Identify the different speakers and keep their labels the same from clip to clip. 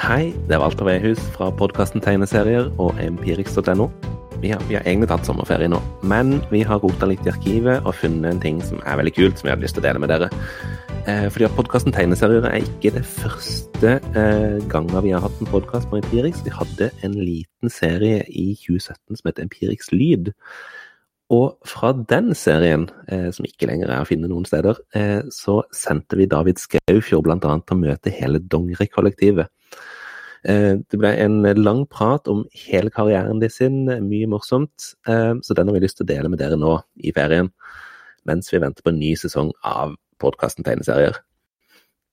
Speaker 1: Hei, det er Walter Vehus fra podkasten Tegneserier og empirix.no. Vi har, vi har egentlig tatt sommerferie nå, men vi har rota litt i arkivet og funnet en ting som er veldig kult, som jeg hadde lyst til å dele med dere. Eh, fordi at podkasten Tegneserier er ikke det første eh, gangen vi har hatt en podkast på Empirix. Vi hadde en liten serie i 2017 som het Empirix Lyd. Og fra den serien, eh, som ikke lenger er å finne noen steder, eh, så sendte vi David Skaufjord bl.a. til å møte hele Dongeri-kollektivet. Eh, det ble en lang prat om hele karrieren de sin, mye morsomt. Eh, så den har vi lyst til å dele med dere nå i ferien, mens vi venter på en ny sesong av podkasten Tegneserier.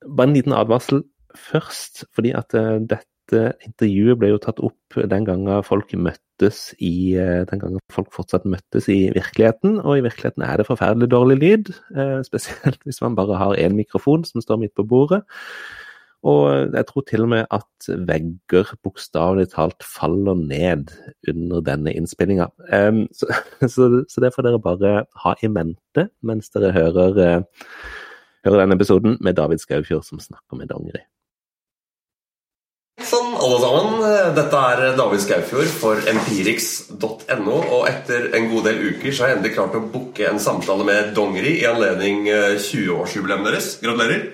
Speaker 1: Bare en liten advarsel først, fordi at eh, dette intervjuet ble jo tatt opp den gangen folk møttes i eh, Den gangen folk fortsatt møttes i virkeligheten, og i virkeligheten er det forferdelig dårlig lyd. eh, Spesielt hvis man bare har én mikrofon som står midt på bordet. Og jeg tror til og med at vegger bokstavelig talt faller ned under denne innspillinga. Em, så, så, så det får dere bare ha i mente mens dere hører, eh, hører denne episoden med David Skaufjord som snakker med dongeri.
Speaker 2: Sånn, alle sammen. Dette er David Skaufjord for empirix.no. Og etter en god del uker så har jeg endelig klart å booke en samtale med Dongeri i anledning eh, 20-årsjubileet deres. Gratulerer.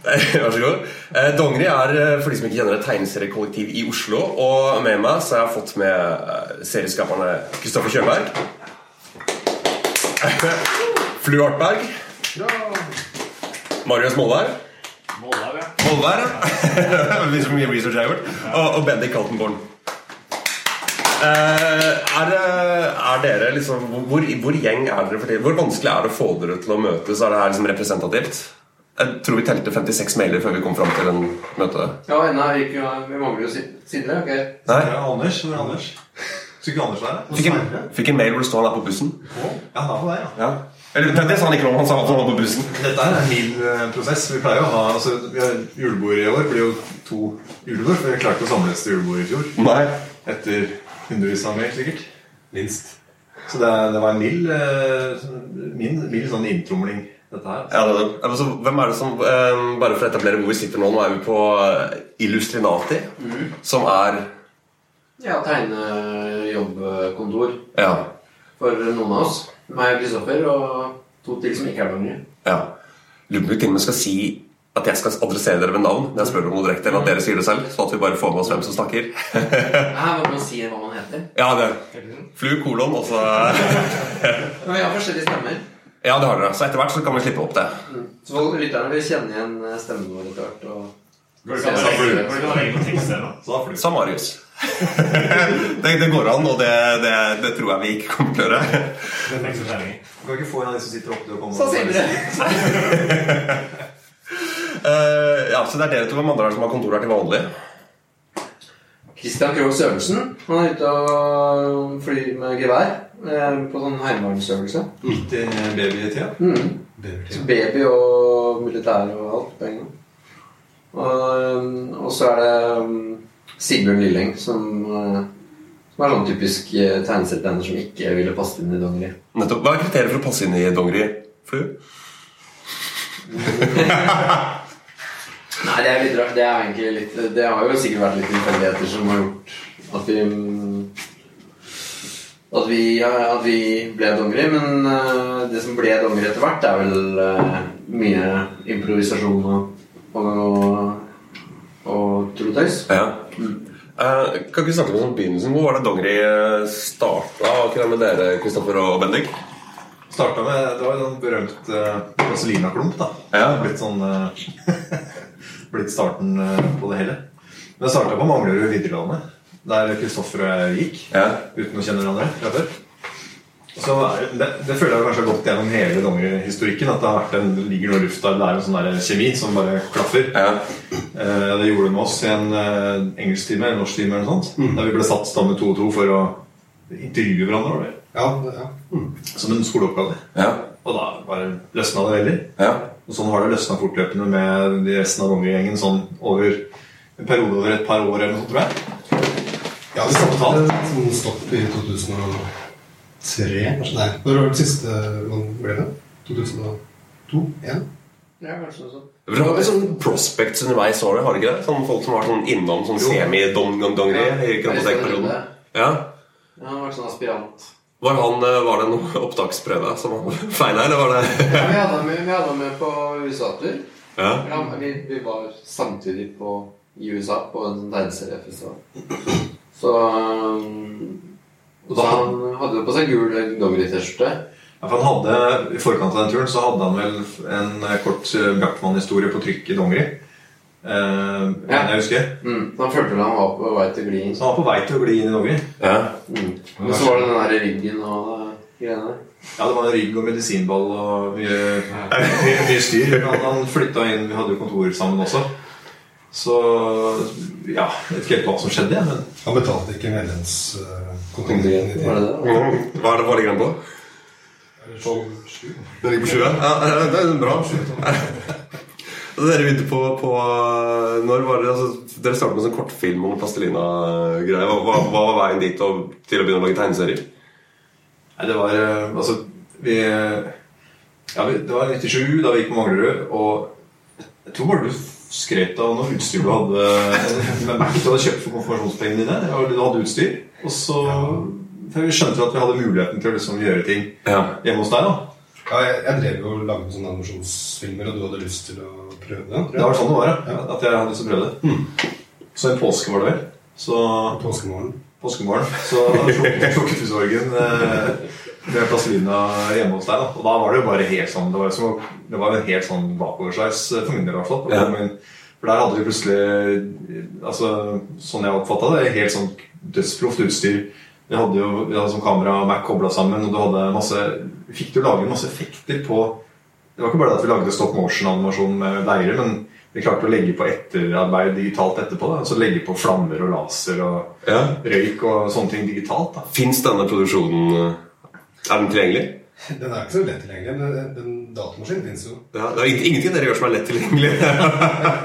Speaker 2: Vær så god. Eh, Dongeri er, eh, for de som ikke kjenner det, tegneseriekollektiv i Oslo. Og med meg så har jeg fått med eh, serieskaperne Kristoffer Kjølberg. Flu Artberg. Marius Molberg. Molberg, ja. Hvis så mye research jeg har gjort. Og, og Bendik Kaltenborn. Eh, er, det- er dere liksom hvor, hvor gjeng er dere for tiden? Hvor vanskelig er det å få dere til å møtes? Er det her liksom representativt? Jeg tror vi telte 56 mailer før vi kom fram til en møte.
Speaker 3: Ja, ennå er vi ikke Vi mangler jo Sin- Sindre. ok?
Speaker 2: Nei,
Speaker 4: Ja, Anders. Hvor er Anders? Skulle ikke Anders være
Speaker 2: fikk en, fikk en mail hvor det står han er på bussen.
Speaker 4: Ja, han er på deg, ja.
Speaker 2: Ja. Eller, det, det sa han ikke noe om, han sa at han var på bussen.
Speaker 4: Dette er en mild eh, prosess. Vi pleier å ha altså, vi har Julebord i år blir jo to julebord. For vi klarte å samles til julebord i fjor.
Speaker 2: Nei.
Speaker 4: Etter hundrevis av mail, sikkert.
Speaker 2: Minst.
Speaker 4: Så det, det var en mild, eh, sånn- mild, mild sånn inntromling, dette her.
Speaker 2: Ja, det, det- altså, hvem er det som eh, Bare for å etablere hvor vi sitter nå, nå er vi på eh, Illustrinati, som er
Speaker 3: Ja, tegnejobbkontor
Speaker 2: Ja.
Speaker 3: for noen av oss. Meg og Kristoffer og to til som ikke er mange.
Speaker 2: Ja. Lurer på om vi til og med skal si at jeg skal adressere dere med navn når jeg spør om noe direkte, eller at dere sier det selv, sånn at vi bare får med oss hvem som snakker.
Speaker 3: Her må man si hva man heter.
Speaker 2: Ja, det. Flu, kolon, og så
Speaker 3: Men vi har forskjellige stemmer.
Speaker 2: Ja, det har dere. Så etter hvert så kan vi slippe opp det.
Speaker 3: Så folk- lytterne vil kjenne igjen eh, stemmen vår etter hvert. Og
Speaker 5: Går det ikke an å legge- går det ikke an å legge noen tekst der, da?
Speaker 4: Så da flyr
Speaker 2: Sa Marius. det, det går an, og det, det, det tror jeg vi ikke kommer til å gjøre.
Speaker 5: Det er tekst og terninger.
Speaker 4: vi. Kan ikke få en av de som sitter oppe til å komme
Speaker 3: Så
Speaker 4: og-
Speaker 3: Sindre!
Speaker 2: Eh, ja, så det er dere to hvem andre er det som har kontor her til vanlig.
Speaker 3: Christian Krogh Sørensen. Han er ute og flyr med gevær eh, på sånn heimevernsøvelse.
Speaker 4: Midt i babytida.
Speaker 3: Mm. Så baby og militær og alt på en gang. Og, eh, og så er det um, Sigbjørn Lilleng som, eh, som er sånn typisk eh, tegneserietegner som ikke ville passe inn i dongeri.
Speaker 2: Nettopp. Hva er kriteriet for å passe inn i dongeri? Flu?
Speaker 3: Nei, det er litt rart. Det er egentlig litt Det har jo sikkert vært litt tilfeldigheter som har gjort at vi mm, at vi, ja, at vi ble dongeri. Men eh, det som ble dongeri etter hvert, er vel eh, mye improvisasjon og, og, og tullotøys.
Speaker 2: Ja. Eh, kan ikke vi snakke om sånn begynnelsen? Hvor var det dongeri starta? Akkurat med dere, Kristoffer og Bendik?
Speaker 4: Starta med Det var en sånn berømt uh, vaselinaklump, da.
Speaker 2: Ja.
Speaker 4: Blitt sånn eh, Blitt starten eh, på det hele. Men jeg starta på Manglerud videregående, der Kristoffer og jeg gikk.
Speaker 2: Ja.
Speaker 4: Uten å kjenne hverandre fra før. Så er- det, det føler jeg kanskje har gått gjennom hele dongerihistorikken. At det har vært en, det ligger noe i lufta. Det er en sånn der kjemi som bare klaffer.
Speaker 2: Ja.
Speaker 4: Eh, Det gjorde de med oss i en eh, engelsktime eller norsktime eller noe sånt.
Speaker 2: Mm.
Speaker 4: Der vi ble satt sammen to og to for å intervjue hverandre. Var det? Som en skoleoppgave.
Speaker 2: Ja.
Speaker 4: Og da bare løsna det veldig.
Speaker 2: Ja.
Speaker 4: Og sånn har det løsna fortløpende med de resten av dongegjengen sånn over en periode over et par år eller noe sånt, tror jeg.
Speaker 6: Ja, vi startet en sånn stopp i 2003, kanskje. Nei, når var det siste man ble med? 2002? 1?
Speaker 3: Ja, kanskje noe sånt.
Speaker 2: Det var sånn prospects underveis året, har det ikke det? Sånn Folk som var sånn innom sånn semi-dongeri i Krampotek-perioden. Ja.
Speaker 3: Ja, han har vært sånn aspirant.
Speaker 2: Var, han, eh, var det noen opptaksprøve som han feila, eller var det
Speaker 3: Ja, vi hadde ham med, vi hadde ham med på USA-tur.
Speaker 2: ja.
Speaker 3: Ja, men vi, vi var samtidig på, i USA på en sånn tegneseriefestival. Så um, Og da han hadde jo på seg gul eh, dongeri-T-skjorte.
Speaker 4: Ja, for han hadde, I forkant av den turen så hadde han vel en eh, kort eh, Bjartmann-historie på trykk i dongeri. Eh,
Speaker 3: Ja.
Speaker 4: Jeg husker.
Speaker 3: Mm. Så han følte vel han var på vei til å gli inn.
Speaker 4: Så han var på vei til å gli inn i dongeri.
Speaker 2: ja.
Speaker 3: Mm. Men så var det den der ryggen og eh, greiene der.
Speaker 4: Ja, det var en rygg og medisinball og mye, mye, mye styr. Han, han flytta inn, vi hadde jo kontor sammen også. Så ja, jeg vet ikke helt hva som skjedde, jeg, men
Speaker 6: Han betalte ikke medlemskontingenten i
Speaker 3: Var det
Speaker 6: tiden.
Speaker 3: det?
Speaker 2: Hva er det var det grann på? Det ligger på 20? Ja, ja, det er bra. Og dere begynte på, på eh, når var det, altså, Dere startet med en sånn kortfilm om plastelina-greie. Hva, hva, hva var veien dit og, til å begynne å lage tegneserier?
Speaker 4: Nei, det var eh, Altså, vi Ja, vi, det var 97 da vi gikk på Manglerud, og jeg tror bare du skrøt av noe utstyr du hadde med Mac du hadde kjøpt for konfirmasjonspengene dine. og Du hadde utstyr. Og så for Vi skjønte at vi hadde muligheten til å liksom gjøre ting
Speaker 2: Ja.
Speaker 4: hjemme hos deg. da
Speaker 6: Ja, jeg, jeg drev jo og lagde sånne animasjonsfilmer, og du hadde lyst til å prøve det? tror
Speaker 4: Det
Speaker 6: jeg.
Speaker 4: var sånn det var, ja. Mm. At jeg hadde lyst til å prøve det. Så en påske var det vel. Så
Speaker 6: Påskemorgen.
Speaker 4: påskemorgen så tok utsorgen eh, med plastelina hjemme hos deg. Da. Og da var det jo bare helt sånn Det var, jo som, å- det var jo en helt sånn bakoversveis eh, for min del i hvert fall.
Speaker 2: Ja.
Speaker 4: Men- For der hadde vi plutselig, eh, altså, sånn jeg oppfatta det, helt sånn dødsproft utstyr. Vi hadde jo vi hadde som kamera og Mac kobla sammen, og du hadde masse Fikk du lage masse effekter på Det var ikke bare det at vi lagde stop motion-animasjon med leire, men vi klarte å legge på etterarbeid digitalt etterpå. Da. Så legge på flammer og laser og
Speaker 2: ja.
Speaker 4: røyk og sånne ting digitalt. da.
Speaker 2: Fins denne produksjonen eh, Er den tilgjengelig?
Speaker 6: Den er ikke så lett tilgjengelig. men Den datamaskinen fins jo.
Speaker 2: Ja, det er ing- ingenting dere gjør som er lett tilgjengelig.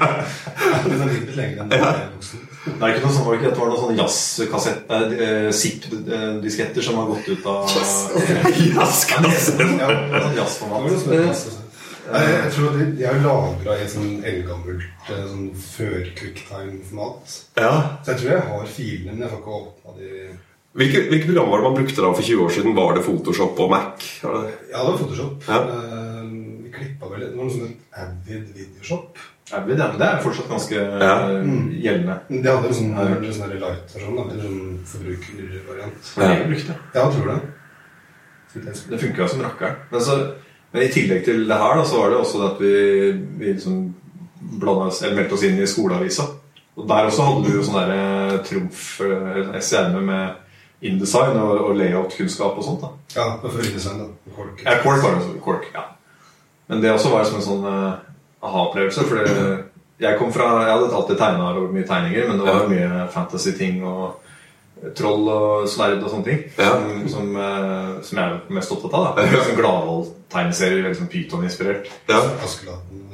Speaker 6: Den er litt lenger enn den er voksen.
Speaker 4: Det er ikke noe sånn, var det ikke, det var noen sånne jazzkassett... Nei, zip-disketter som har gått ut av
Speaker 2: Jaskassen!
Speaker 4: Ja, sånn
Speaker 6: Det var
Speaker 4: jazzformat.
Speaker 6: noe som het masse sånn. Nei, jeg, jeg tror de, de er lagra i et sånn eldgammelt eh, sånn før-quicktime-format.
Speaker 2: Ja.
Speaker 6: Så jeg tror jeg har filene, men jeg får ikke åpna de Jeg
Speaker 2: Hvilke, hvilke program var det man brukte da for 20 år siden? Var det Photoshop og Mac? Var det?
Speaker 6: hadde Photoshop.
Speaker 2: Ja.
Speaker 6: Eh, Vi klippa vel Det var noe som het Avid Videoshop.
Speaker 4: Ja, men det er fortsatt ganske
Speaker 2: Ja.
Speaker 4: eh, gjeldende.
Speaker 6: Men Det hadde en sånn, en sånn her light-versjon, da, eller sånn forbrukervariant.
Speaker 4: Det er det vi brukte.
Speaker 6: Ja, jeg tror det.
Speaker 4: Det funka jo som rakkeren. Men, så- men i tillegg til det her, da, så var det også det at vi, vi liksom blanda oss, eller meldte oss inn i skoleavisa. Og der også hadde du jo sånn derre trumf, eh, SCM med InDesign og, og layout-kunnskap og sånt. da.
Speaker 6: Ja, det var før InDesign, da. Kork.
Speaker 4: Ja, Cork var det også. Cork, ja. Men det også var som en sånn eh, aha-opplevelse. For det- jeg kom fra Jeg hadde alltid tegna mye tegninger, men det var jo mye fantasy-ting og eh, troll og sverd og sånne ting
Speaker 2: Ja.
Speaker 4: som, som, eh, som jeg er mest opptatt av. da sånn Gladvold-tegneserier, veldig sånn Pyton-inspirert.
Speaker 2: Ja.
Speaker 6: Askeladden og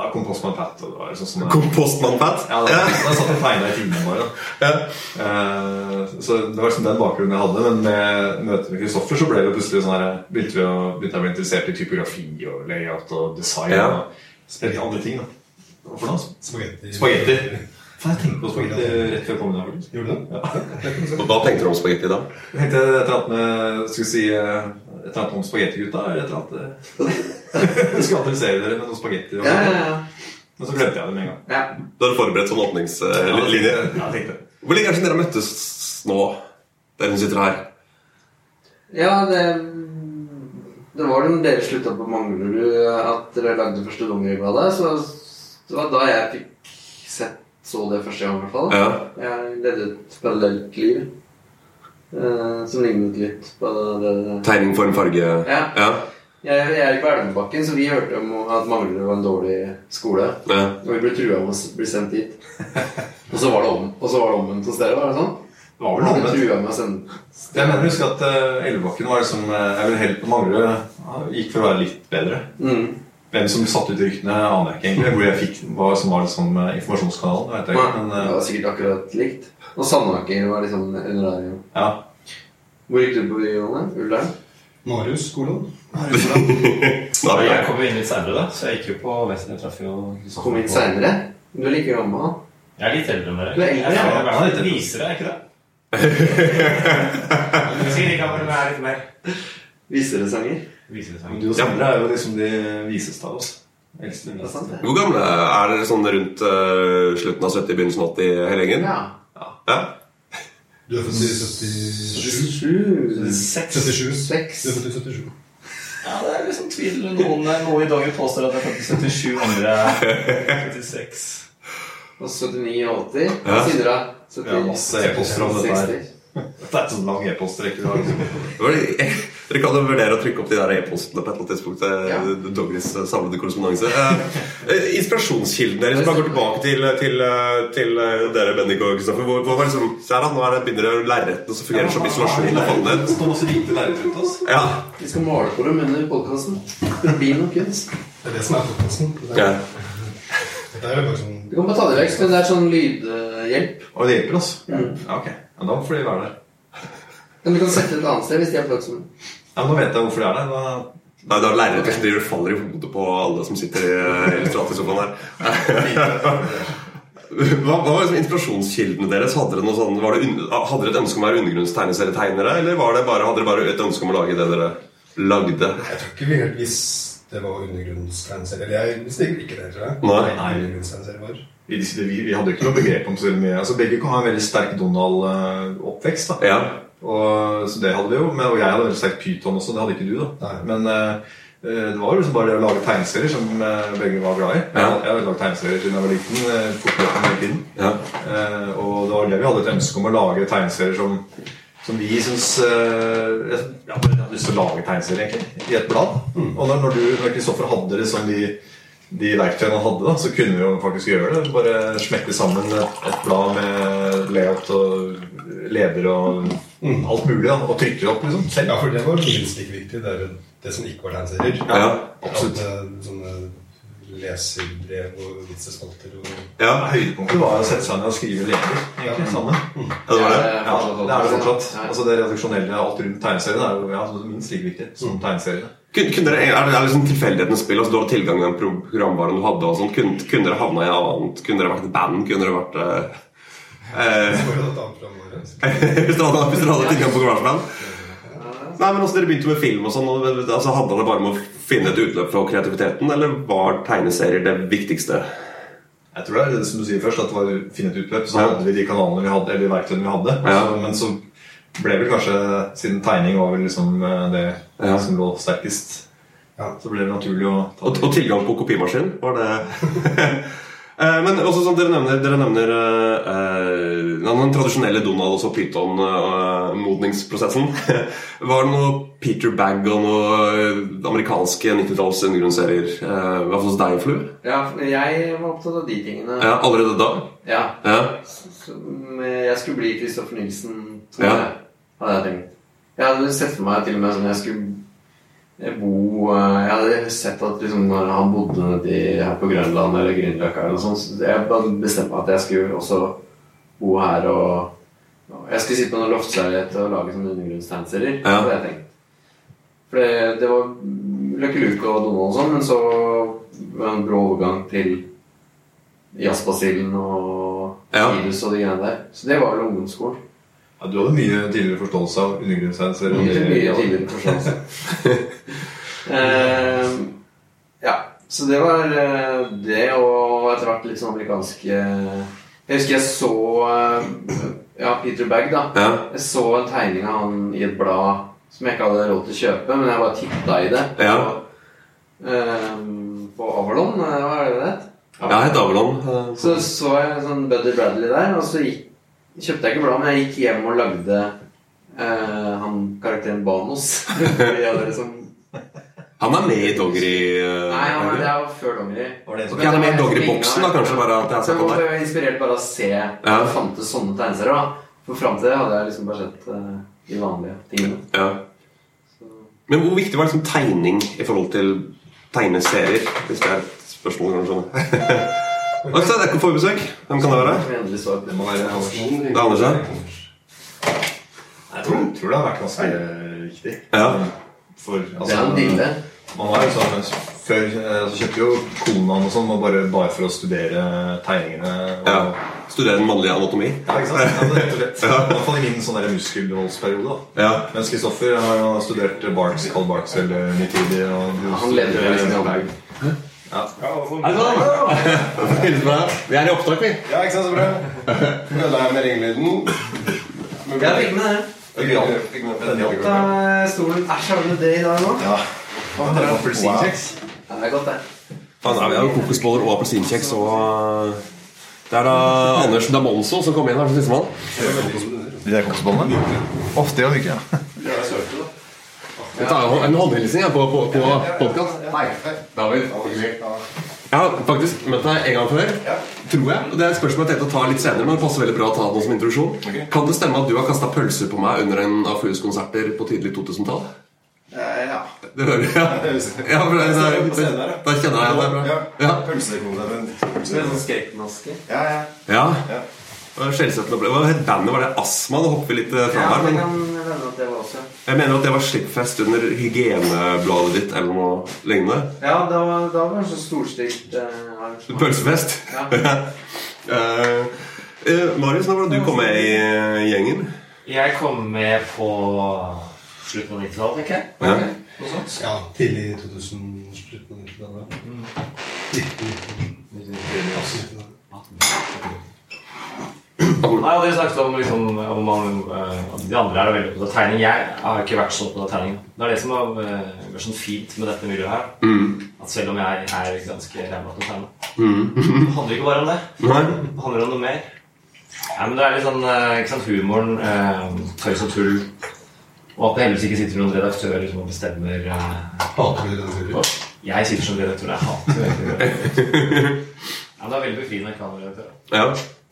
Speaker 4: Ja, kom Postman Pat og det var liksom sånn
Speaker 2: Kom Postmann-Pat?
Speaker 4: ja, da, da satt jeg og tegna sånn i timene bare. da. Eh, så det var liksom den bakgrunnen jeg hadde. Men med møtet med Kristoffer så ble det plutselig sånn her, begynte, vi å, begynte jeg å bli interessert i typografi og layout og design.
Speaker 2: Ja.
Speaker 4: Og spennende andre ting. da. Hvorfor da?
Speaker 6: spagetti.
Speaker 4: Spagetti. Faen, jeg tenkte på spagetti rett før jeg kom inn her. faktisk.
Speaker 6: Gjorde du det?
Speaker 2: Og Hva tenkte du om spagetti da?
Speaker 4: Jeg tenkte et eller annet med Skal vi si eh, et eller annet om spagettigutta? Eller et eller annet eh. Jeg skulle adressere dere med noe spagetti. og-
Speaker 3: Ja, ja, ja.
Speaker 4: Men så glemte jeg det med en gang.
Speaker 3: ja.
Speaker 2: Da har du forberedt sånn åpningslinje?
Speaker 4: Ja, jeg tenkte.
Speaker 2: Hvor lenge er det siden dere har møttes nå? Der hun sitter her.
Speaker 3: ja det, det var da dere slutta på Manglerud, at dere lagde første dongeribladet. Så det var da jeg fikk sett så det første gang, i hvert fall.
Speaker 2: Ja.
Speaker 3: Jeg levde et parallelt liv eh, som lignet litt på det, det.
Speaker 2: Tegning, form, farge
Speaker 3: Ja.
Speaker 2: Ja.
Speaker 3: Jeg, jeg er på Elvebakken, så vi hørte om at Manglerud var en dårlig skole.
Speaker 2: ja.
Speaker 3: Og vi ble trua med å bli sendt dit. Og så var det om Og så var det omvendt hos dere, var det sånn?
Speaker 4: Det var vel
Speaker 3: Vi ble
Speaker 4: omvendt.
Speaker 3: trua med å sende
Speaker 4: Jeg mener husk at eh, Elvebakken var liksom eh, Jeg vil helt på Manglerud ja, gikk for å være litt bedre.
Speaker 3: mm.
Speaker 4: Hvem som satte ut ryktene, aner jeg ikke egentlig. Hvor jeg fikk hva som var liksom eh, informasjonskanalen. Vet jeg ikke,
Speaker 3: Nei,
Speaker 4: men
Speaker 3: det
Speaker 4: eh,
Speaker 3: var sikkert akkurat likt. Og Sandaker var liksom under der. jo.
Speaker 4: ja.
Speaker 3: Hvor gikk du på videregående? Ullern?
Speaker 6: Marius Skolan.
Speaker 2: Da er vi
Speaker 7: Jeg
Speaker 2: der.
Speaker 7: kom jo inn litt senere da, så jeg gikk jo på Vestland. Jeg traff jo Kristoffer
Speaker 3: Kom inn
Speaker 7: på-
Speaker 3: seinere. Du er like gammel.
Speaker 7: Jeg er litt eldre enn dere.
Speaker 3: Du er eldre,
Speaker 7: Jeg
Speaker 3: ja.
Speaker 7: er i hvert fall litt visere, er jeg ikke det?
Speaker 8: Jeg sier ikke at det er litt mer
Speaker 3: Viser det sanger?
Speaker 7: Visere
Speaker 4: Men
Speaker 7: sang.
Speaker 4: Du og Sandra er jo liksom de viseste av oss. Eldste og
Speaker 3: Det er sant, det.
Speaker 4: minste.
Speaker 2: Hvor gamle er dere sånn rundt eh, slutten av 70, begynnelsen av 80, hele gjengen?
Speaker 3: Ja.
Speaker 2: Ja.
Speaker 6: Du er født i 77.
Speaker 3: 77.
Speaker 7: Seks.
Speaker 6: 77.
Speaker 3: Seks.
Speaker 6: Du er født i 77.
Speaker 7: Ja, det er liksom tvil. Noen, noen i Dogger påstår at det er 77 andre er 76.
Speaker 3: Og 79 og
Speaker 2: Ja.
Speaker 3: 80. Hva sier dere?
Speaker 4: Vi har
Speaker 3: 70?
Speaker 4: masse e-poster om dette her.
Speaker 3: 60.
Speaker 4: Dette er sånn lang e-postrekke. du har, liksom.
Speaker 2: Det var det- Dere kan jo vurdere å trykke opp de der e-postene på et eller annet tidspunkt. eh,
Speaker 3: Ja.
Speaker 2: Dogris eh, samlede korrespondanse. Eh, eh, Inspirasjonskilden deres, bare går tilbake til, til, eh, til eh, dere, Bendik og Kristoffer. Hvor, hvor var liksom, se her da, Nå er det begynner lerretene som fungerer som isolasjon og
Speaker 4: Det
Speaker 2: fallhet.
Speaker 4: står masse hvite lerret rundt oss.
Speaker 2: Ja.
Speaker 3: Vi skal male på dem under podkasten. Det blir noe kunst.
Speaker 6: Det er det som er podkasten. Det,
Speaker 2: Ja.
Speaker 6: er- det er jo bare sånn
Speaker 3: Du kan bare ta det vekk, men det er sånn lydhjelp.
Speaker 4: Og det hjelper oss. Mm. Ja, ok. Ja, da får de være der.
Speaker 3: Men du kan sette det et annet sted hvis de er plagsomme.
Speaker 4: Ja, men Nå vet jeg hvorfor de er der. Da
Speaker 2: Nei, det er lerretet som driver og faller i hodet på alle som sitter i eh, illustratorsofaen her. Hva, hva var liksom inspirasjonskildene deres? Hadde dere, noe sånn, var det un- hadde dere et ønske om å være undergrunnstegneserietegnere? Eller var det bare, hadde dere bare et ønske om å lage det dere lagde?
Speaker 6: Jeg tror ikke vi helt visste det var undergrunnstegneserie. Eller jeg visste egentlig ikke det, tror jeg.
Speaker 2: Nei.
Speaker 6: Hva undergrunnstegneserie var.
Speaker 4: vi, vi, vi hadde jo ikke noe begrep om så veldig mye. Altså, Begge kan ha en veldig sterk Donald-oppvekst. da.
Speaker 2: Ja.
Speaker 4: Og, så det hadde vi jo. Men, og jeg hadde veldig sterk Pyton også. Det hadde ikke du, da.
Speaker 6: Nei.
Speaker 4: Men eh, eh, det var jo liksom bare det å lage tegneserier som eh, begge var glad i. Jeg,
Speaker 2: Ja.
Speaker 4: hadde- jeg hadde lagd tegneserier siden jeg var liten. eh, fortløpende hele tiden.
Speaker 2: ja.
Speaker 4: Eh, og det var det vi hadde et ønske om å lage tegneserier som, som vi syns eh, Jeg ja, bare hadde lyst til å lage tegneserier, egentlig, i et blad. Og når, når du når Kristoffer hadde det som de, de verktøyene han hadde, da, så kunne vi jo faktisk gjøre det. Bare smekke sammen et, et blad med layout og leder og alt mulig. Da, og trykke det opp liksom, selv.
Speaker 6: Ja, for det var minst like viktig. Det, er det som ikke var tegneserier.
Speaker 2: Ja.
Speaker 4: absolutt.
Speaker 6: At, eh, sånne leserbrev og vitsespalter og
Speaker 2: ja.
Speaker 4: Høydepunktet var å sette seg ned og skrive leder. egentlig, sammen.
Speaker 2: Ja, det var det.
Speaker 4: Ja, det er det fortsatt.
Speaker 3: Ja.
Speaker 4: Altså, det redaksjonelle alt rundt tegneseriene er jo ja, minst like viktig som tegneseriene.
Speaker 2: Kun- Kunne dere, er det er liksom tilfeldighetens spill? Altså, du hadde tilgang til den pro- programvaren du hadde. Og sånt. Kunne, kunne dere havna i annet? Kunne dere vært et band? Kunne dere vært eh, eh,
Speaker 6: Det var jo et annet program våre.
Speaker 2: hvis dere hadde, hvis dere hadde tilgang på Garasjeland? Nei, men også Dere begynte med film og sånn. og Altså, handla det bare om å finne et utløp for kreativiteten, eller var tegneserier det viktigste?
Speaker 4: Jeg tror det er det som du sier først, at det var å finne et utløp. Så
Speaker 2: Ja.
Speaker 4: hadde vi de kanalene vi hadde, eller de verktøyene vi hadde.
Speaker 2: Ja.
Speaker 4: Så, men så ble vel kanskje, siden tegning var vel liksom eh, det
Speaker 2: Ja.
Speaker 4: som lå sterkest,
Speaker 6: Ja.
Speaker 4: så ble det naturlig å ta
Speaker 2: Og, og tilgang på kopimaskin, var det Eh, Men også sånn, dere nevner, dere nevner eh, eh, den tradisjonelle Donald og Pyton-modningsprosessen. var det noe Peter Bagg og noe eh, amerikanske 90-talls undergrunnsserier? eh, I hvert fall hos deg, Flue?
Speaker 3: Ja, men jeg var opptatt av de tingene.
Speaker 2: Ja, allerede da?
Speaker 3: Ja.
Speaker 2: Ja.
Speaker 3: Som, eh, Jeg skulle bli Kristoffer Nilsen, tror
Speaker 2: Ja.
Speaker 3: jeg. Hadde jeg tenkt. Jeg hadde sett for meg til og med sånn jeg skulle bo eh, Jeg hadde sett at liksom, når han bodde nedi her på Grønland eller Grünerløkka eller noe sånt, så jeg bare bestemte meg at jeg skulle også bo her og og Jeg skulle sitte på noen loftsleilighet og lage sånne undergrunnstegneserier.
Speaker 2: Ja.
Speaker 3: hadde jeg tenkt. For det, det var Løkke Luke og Donald og sånn, men så var det en brå overgang til Jazzbasillen og
Speaker 2: Ja.
Speaker 3: Virus og de greiene der. Så det var vel ungdomsskolen.
Speaker 4: ja, Du hadde mye tidligere forståelse av undergrunnstegneserier.
Speaker 3: Mye,
Speaker 4: enn det-
Speaker 3: mye tidligere forståelse. Eh, altså. ja. Så det var eh, det, og etter hvert litt sånn amerikanske Jeg husker jeg så eh, Ja, Peter Bagg, da.
Speaker 2: ja.
Speaker 3: Jeg så en tegning av han i et blad som jeg ikke hadde råd til å kjøpe, men jeg bare titta i det.
Speaker 2: Ja.
Speaker 3: På, eh, på Avalon, eh, hva er det det het?
Speaker 2: Ja, jeg het Avalon. eh,
Speaker 3: Så så jeg en sånn Buddy Bradley der, og så gikk, kjøpte jeg ikke bladet, men jeg gikk hjem og lagde eh, han karakteren Banos. Fordi jeg hadde liksom
Speaker 2: Han er med i Dongeri. eh,
Speaker 3: Nei, han, det var før Dongeri.
Speaker 4: Var det en som-
Speaker 2: Ok, han er med i Dongeri-boksen, da, kanskje, bare at jeg har
Speaker 3: Så
Speaker 2: sett
Speaker 3: jeg
Speaker 2: han
Speaker 3: var
Speaker 2: sånn der.
Speaker 3: bare inspirert bare av å se at det fantes sånne tegneserier. da. For fram til det hadde jeg liksom bare sett eh, de vanlige tingene.
Speaker 2: Ja.
Speaker 3: Så-
Speaker 2: Men hvor viktig var liksom tegning i forhold til tegneserier? Hvis det er et spørsmål, kanskje. sånn? Og så er det ikke for besøk. Hvem kan det være?
Speaker 3: Som jeg endelig så
Speaker 4: Det må være jeg
Speaker 2: Det er Anders her.
Speaker 4: tror, tror det har vært ganske riktig. altså,
Speaker 2: Ja.
Speaker 9: For,
Speaker 3: Det er en dille.
Speaker 9: Man var jo sånn Før eh, så kjøpte jo konaen og sånn man bare, bare for å studere tegningene. Og,
Speaker 2: Ja. Studere den mannlige anatomi.
Speaker 9: Ja, ikke sant? Ja, det er rett og slett. I hvert fall i min sånn der muskelholdsperiode. da.
Speaker 2: Ja.
Speaker 9: Mens Kristoffer har jo studert Barks, Carl Barks eller Nitidi. Og
Speaker 3: Han leder jo liksom i alle
Speaker 2: Veldig bra. Vi er i opptak, vi.
Speaker 6: Ja, ikke sant, så bra. Ødela jeg med ringlyden. Men-
Speaker 3: Jeg fikk med det.
Speaker 6: Fikk med- fikk med-
Speaker 9: Den hjalp.
Speaker 3: Eh, Stolen er så under det i dag nå.
Speaker 9: Ja. Han tar appelsinkjeks.
Speaker 3: Ja, det er godt, det.
Speaker 2: Faen, nei, vi har jo kokosboller og appelsinkjeks og Det er da Anders Damonso som kom inn her som sistemann.
Speaker 9: De der kokosbollene? Ofte gjør de ikke det.
Speaker 2: Vi tar jo en håndhilsning her på, på, på podcast. Hei. David. Jeg har faktisk møtt deg en gang før. Tror jeg. Og Det er et spørsmål jeg tenkte å ta litt senere, men det passer veldig bra å ta det nå som introduksjon. Kan det stemme at du har kasta pølser på meg under en av Fues konserter på tidlig 2000-tall?
Speaker 6: Ja.
Speaker 2: Det hører jeg. Ja, for det, det, det, da kjenner jeg deg bra. Ja.
Speaker 4: Med sånn skrekkmaske.
Speaker 6: Ja, ja.
Speaker 2: Ja. Det var skjellsettende opplevelse. Hva het bandet? Var det Astma? Nå hopper vi litt eh,
Speaker 3: Ja,
Speaker 2: fra her.
Speaker 3: det
Speaker 2: Men
Speaker 3: kan hende at det var også.
Speaker 2: jeg mener at det var Slipfest under hygienebladet ditt eller noe lignende.
Speaker 3: Ja, da var, da var det så storstilt eh, arrangement.
Speaker 2: Pølsefest.
Speaker 3: Ja.
Speaker 2: Eh, eh, Marius, når var det du kom med i eh, gjengen?
Speaker 7: Jeg kom med på slutten av 90-tallet, tenker jeg.
Speaker 2: Ja.
Speaker 7: Noe sånt.
Speaker 6: ja tidlig 2000, slutten av 90-tallet. 1990-tallet.
Speaker 7: Nei, og Dere snakket om liksom, om man, eh, at de andre er veldig opptatt av tegning. Jeg har jo ikke vært så opptatt av tegning. Det er det som har eh, vært sånn fint med dette miljøet her. At selv om jeg er ganske ræva til å tegne,
Speaker 6: Mm.
Speaker 7: det handler ikke bare om det.
Speaker 2: Nei?
Speaker 7: Det handler om noe mer. Nei, men det er litt sånn eh, ikke sant, humoren, eh, tøys og tull, og at det heldigvis ikke sitter noen redaktører som bestemmer eh,
Speaker 6: Hater du den serien?
Speaker 7: Jeg sitter som redaktør, jeg hater egentlig redaktører. Ja, men det er veldig befriende å ikke ha noen redaktør.
Speaker 2: Ja.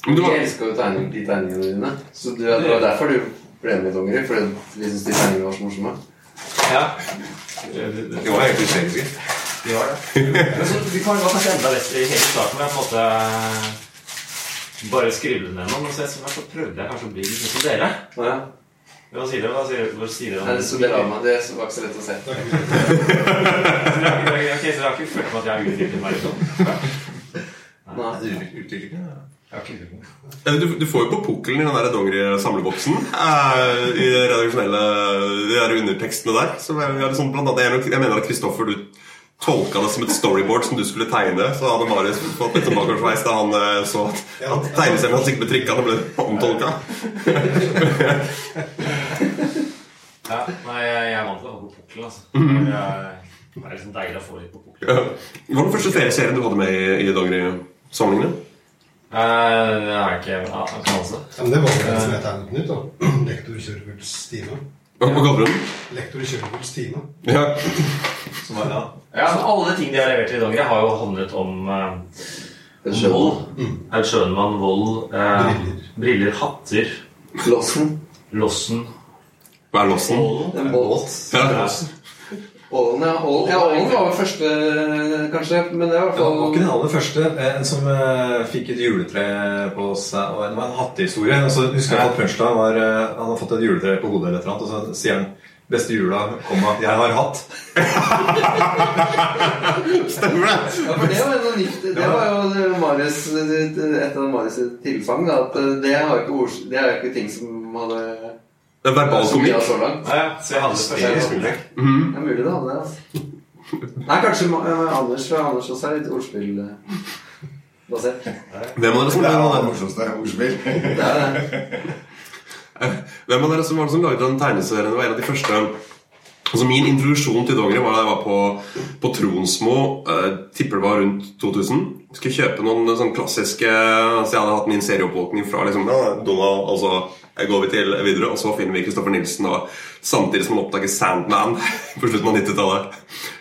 Speaker 2: Men du
Speaker 3: Vi
Speaker 2: var
Speaker 3: elsker jo tegning, de tegningene dine. Så du, det var derfor du ble med i Dongeri. Fordi vi syntes de tegningene var så morsomme.
Speaker 7: Ja. Det, det, det.
Speaker 9: Det var egentlig hysterisk.
Speaker 7: Vi har det. Men så, vi kan gå kanskje enda lettere i hele starten. Jeg på en måte bare skrive det ned noe. Men så, jeg, så prøvde jeg kanskje å bli litt sånn som dere.
Speaker 3: Ja.
Speaker 7: Hva sier dere? Hva sier, hva sier
Speaker 3: Nei,
Speaker 7: dere?
Speaker 3: det sto det av meg. Det var ikke så lett å se.
Speaker 7: Ok, så jeg har ikke følt meg at jeg har utviklet meg litt sånn.
Speaker 3: Nei.
Speaker 7: Jeg har ikke utviklet meg.
Speaker 2: Eh, Du, du får jo på pukkelen i den der dongeri-samleboksen. eh, I de redaksjonelle de der undertekstene der. Så er det sånn, blant annet, jeg nok- jeg mener at Kristoffer, du tolka det som et storyboard som du skulle tegne. Så hadde Marius fått litt tilbakeveis da han eh, så at, at tegneserien hans ikke ble trykka. Det ble omtolka.
Speaker 7: Ja, nei, jeg jeg er vant til å ha på pukkelen, altså. Jeg- Det er liksom deilig å få litt på pukkelen.
Speaker 2: Ja. Hva var den første serien du hadde med i, i dongeri-samlingene?
Speaker 7: Eh, Det er ikke ja, jeg kan også.
Speaker 6: Ja, men det var jo den som jeg tegnet den ut, da. Lektor Kjørvels time.
Speaker 2: Hva hva kalte du den?
Speaker 6: Lektor Kjørvels time.
Speaker 2: Ja.
Speaker 9: Som var, ja.
Speaker 7: Ja, men alle ting de har levert i Dongeri, har jo handlet om eh,
Speaker 3: Det
Speaker 7: Om
Speaker 3: skjønner
Speaker 7: Vold. Aud Schønmann, vold, eh,
Speaker 6: Briller.
Speaker 7: briller, hatter,
Speaker 3: jeg. Låsen.
Speaker 7: lossen
Speaker 2: Hva er lossen?
Speaker 3: Det er båt.
Speaker 2: Ja.
Speaker 3: Ålen, ja. Ålen, ja, ålen var vel første, kanskje. Men det var i hvert
Speaker 9: Det var ikke
Speaker 3: fall
Speaker 9: den aller første. eh, En som eh, fikk et juletre på seg og Det var en hattehistorie. Og så husker jeg at punchline var eh, Han har fått et juletre på hodet, eller et eller annet, og så sier han Beste jula, komma, jeg har hatt.
Speaker 2: Stemmer det?
Speaker 3: ja, for det var noe nytt. Det var jo Marius, et av Marius' tilfang. Da, at eh, det er jo ikke, ord, det er jo ikke ting som hadde
Speaker 2: Det er verbal
Speaker 3: som vi har
Speaker 2: komikk.
Speaker 3: så langt.
Speaker 7: Ja, så jeg hadde det
Speaker 3: Det er
Speaker 7: første
Speaker 3: mulig. Det er mulig det hadde det. Altså. Nei, kanskje Ma- eh, Anders fra Anders også er litt eh, ordspillbasert.
Speaker 2: Hvem av dere som
Speaker 10: Det er
Speaker 2: lagde
Speaker 10: det morsomste ordspill.
Speaker 3: Det er det.
Speaker 2: Hvem av dere som var det som lagde den tegneserien? Det var en av de første Altså Min introduksjon til dongeri var da jeg var på, på Tronsmo. Eh, tipper det var rundt 2000. Skulle kjøpe noen sånn klassiske Så jeg hadde hatt min serieoppvåkning fra liksom, ja, Donald og så jeg går vi til videre, og så finner vi Kristoffer Nilsen og samtidig som han oppdager Sandman på slutten av 90-tallet.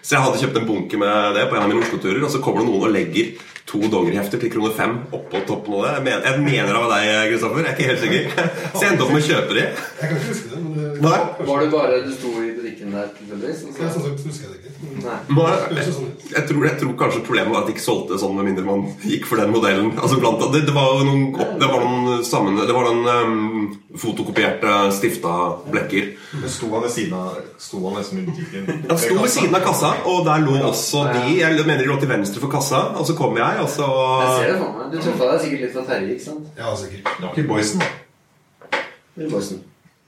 Speaker 2: Så jeg hadde kjøpt en bunke med det på en av mine Oslo-turer, og så kommer det noen og legger to dongerihefter til kroner fem oppå toppen av det. Jeg mener, jeg mener det var deg, Kristoffer. Jeg er ikke helt sikker. Så jeg endte opp med å kjøpe de.
Speaker 6: Jeg kan ikke huske det, men det
Speaker 2: Nei.
Speaker 3: Var det bare du sto i butikken der tilfeldigvis? og
Speaker 6: Jeg,
Speaker 3: så-
Speaker 6: sånn sett husker jeg det ikke. Men
Speaker 3: Nei.
Speaker 6: det
Speaker 2: Nå-
Speaker 6: høres jo sånn ut.
Speaker 2: Jeg tror, jeg tror kanskje problemet var at de ikke solgte sånn med mindre man gikk for den modellen. Altså blant annet, det, det var jo noen, opp- det var noen, sammen, det var noen ehm, fotokopierte, stifta blekker.
Speaker 9: Men sto han ved siden av Sto han nesten i butikken?
Speaker 2: Han sto ved siden av kassa, og der lå også de. Jeg mener de lå til venstre for kassa, og så kom jeg, og så
Speaker 3: Jeg ser det for meg. Du tøffa deg sikkert litt fra Terje, ikke sant?
Speaker 6: Ja, sikkert.
Speaker 9: Det var ikke Boysen, da.
Speaker 3: Eller Boysen.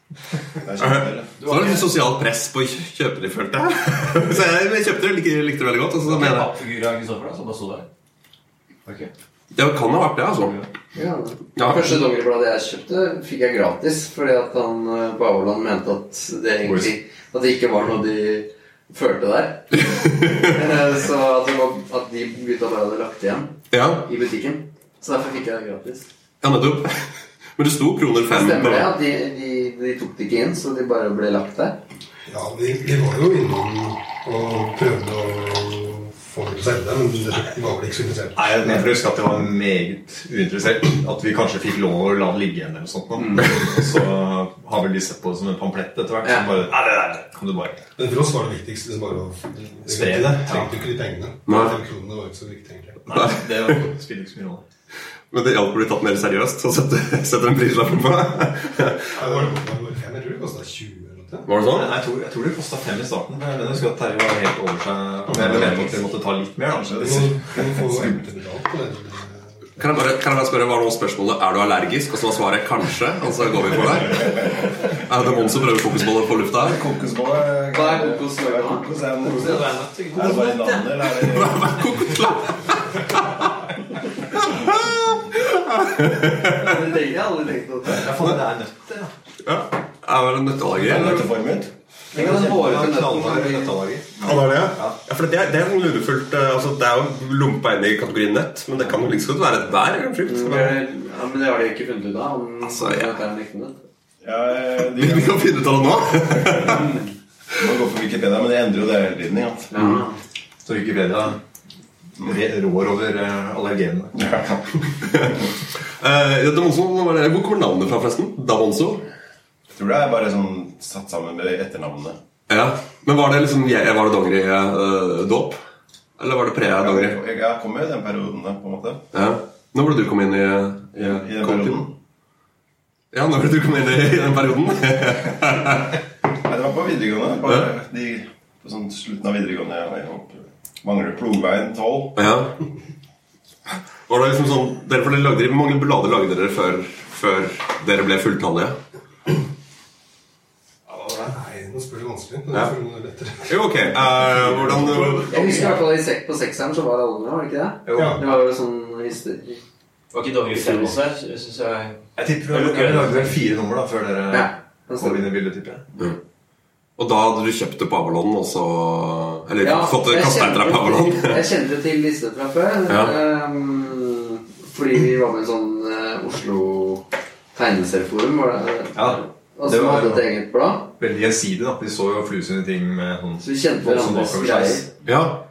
Speaker 9: Det er kjempedeilig.
Speaker 2: Så var det litt sosialt press på å kjø- kjøpe de, følte jeg. Så jeg jeg kjøpte det, likte, likte det veldig godt. Og så mener jeg
Speaker 7: Pappfigur av Kristoffer da, som bare sto der.
Speaker 2: Det kan ha vært det, altså.
Speaker 3: Ja.
Speaker 2: Ja.
Speaker 3: Første dongeribladet jeg kjøpte, fikk jeg gratis fordi at han eh, på Auland mente at det egentlig At det ikke var noe de følte der. Eh, Så at, det var, at de gutta bare hadde lagt igjen
Speaker 2: Ja,
Speaker 3: i butikken. Så derfor fikk jeg det gratis.
Speaker 2: ja nettopp. Men det sto kroner
Speaker 3: Det
Speaker 2: fem.
Speaker 3: stemmer det
Speaker 2: på-
Speaker 3: at de, de, de tok det ikke inn, så de bare ble lagt der.
Speaker 6: Ja, de, de var jo innom og prøvde å få meg til å selge det, men de var vel ikke så interessert.
Speaker 9: Nei, jeg jeg tror jeg husker at jeg var meget uinteressert. At vi kanskje fikk lov å la det ligge igjen eller noe sånt.
Speaker 7: Mm.
Speaker 9: nå. Og så har vel de sett på det som en pamplett etter hvert.
Speaker 3: Ja.
Speaker 9: Som bare, nei, nei, nei, kan du bare
Speaker 6: Men for oss var det viktigst liksom bare å
Speaker 9: Spre det, ja.
Speaker 6: Trengte jo ikke de pengene.
Speaker 2: Nei.
Speaker 6: Fem kronene var jo ikke så viktig, egentlig.
Speaker 9: Nei, det spiller ikke så mye rolle.
Speaker 2: Men det hjalp å bli tatt mer seriøst. Så setter, setter en prislapp på det.
Speaker 6: Ja, det var, det var fem, jeg tror det kostet 20 eller noe.
Speaker 2: Var det
Speaker 9: Nei,
Speaker 2: sånn?
Speaker 9: Jeg tror, jeg tror det kosta fem i starten. Men jeg mener, jeg husker at Terje var helt over seg. Men jeg mener at vi måtte ta litt mer.
Speaker 6: Du
Speaker 9: Da.
Speaker 6: må, du må få enten betalt på eh, det.
Speaker 2: Kan jeg bare, kan jeg bare spørre, Var det noe spørsmålet er du allergisk? Og så var svaret kanskje. Og så går vi for det. Er det Mons som prøver fokusboller på lufta? her?
Speaker 4: Kokosbolle
Speaker 3: Hva er kokos nå?
Speaker 4: Kokos er en kokos. Er det bare en annen, eller er det
Speaker 2: Hva er kokosboller?
Speaker 3: Det har jeg aldri tenkt på.
Speaker 9: Ja, faen, det er nøtt.
Speaker 2: Ja. Er det en nøtteallergi?
Speaker 4: Er det
Speaker 2: eller?
Speaker 4: nøtteformet?
Speaker 3: Tenk at den hårete nøtten kan bli-
Speaker 2: Ja, det er det. Ja, for det, er- det er noe lurefullt. eh, Altså, det er jo lumpa inn i kategorien nett, men det kan jo like så godt være et bær. eller en frukt. Men-
Speaker 3: Ja, men Mm, det har de ikke funnet ut av. Om
Speaker 2: Altså, ja.
Speaker 3: det er en ekte nøtt.
Speaker 4: Ja, eh, de
Speaker 2: Vi vi kan finne ut av det nå.
Speaker 4: man går for Wikipedia, men det endrer jo det hele tiden. Ja.
Speaker 2: Mm.
Speaker 3: Ja.
Speaker 9: Så Wikipedia re- rår over eh, allergenene.
Speaker 2: Eh, ja, Damonzo, hva er det? Hvor kommer navnet fra, forresten? Damonzo?
Speaker 4: Jeg tror det er bare sånn satt sammen med etternavnene.
Speaker 2: Ja. Men var det liksom jeg- Var det dongeri-dåp? Eller var det pre-dongeri?
Speaker 4: Jeg, jeg kom jo i den perioden, da, på en måte.
Speaker 2: Ja. Når ble du kom inn i, i,
Speaker 4: I den
Speaker 2: kampen?
Speaker 4: perioden.
Speaker 2: Ja, når ble du kom inn i, i den perioden?
Speaker 4: Nei, det var på videregående. På,
Speaker 2: Ja.
Speaker 4: de, på sånn slutten av videregående. Jeg, jeg mangler plogveien 12.
Speaker 2: ja. Var det liksom sånn dere, for dere lagde, Hvor mange blader lagde dere før, før dere ble fulltallige?
Speaker 6: Nei, nå spør du vanskelig. Nå
Speaker 2: Ja.
Speaker 6: spør du noe lettere.
Speaker 2: Jo, ok. eh, hvordan
Speaker 3: Jeg husker i hvert fall i sek på sekseren så var alle med, var det ikke det?
Speaker 6: Ja.
Speaker 3: Det var jo sånn hysteri.
Speaker 7: Var ikke Dongeri fem også der? Jeg synes jeg...
Speaker 9: Jeg tipper dere dere lagde vel fire nummer da, før
Speaker 3: Ja.
Speaker 9: dere
Speaker 3: det
Speaker 9: kom
Speaker 3: stemmer.
Speaker 9: inn i bildet, tipper jeg.
Speaker 2: Og da hadde du kjøpt det på Avalon, og så Eller
Speaker 3: Ja,
Speaker 2: fått det
Speaker 3: jeg
Speaker 2: kastet etter deg på
Speaker 3: kjente-
Speaker 2: Avalon?
Speaker 3: Jeg kjente til liste fra før.
Speaker 2: Ja.
Speaker 3: ehm, fordi vi var med i sånn eh, Oslo tegneserieforum, var det?
Speaker 9: Ja,
Speaker 3: Og
Speaker 9: det
Speaker 3: så
Speaker 9: var-
Speaker 3: hadde et eget blad.
Speaker 9: Veldig gjensidig, da. De så jo Flu sine ting med sånn
Speaker 3: Så vi kjente
Speaker 9: voldsom
Speaker 3: hverandres
Speaker 9: bakoversveis.
Speaker 3: greier.
Speaker 2: Ja.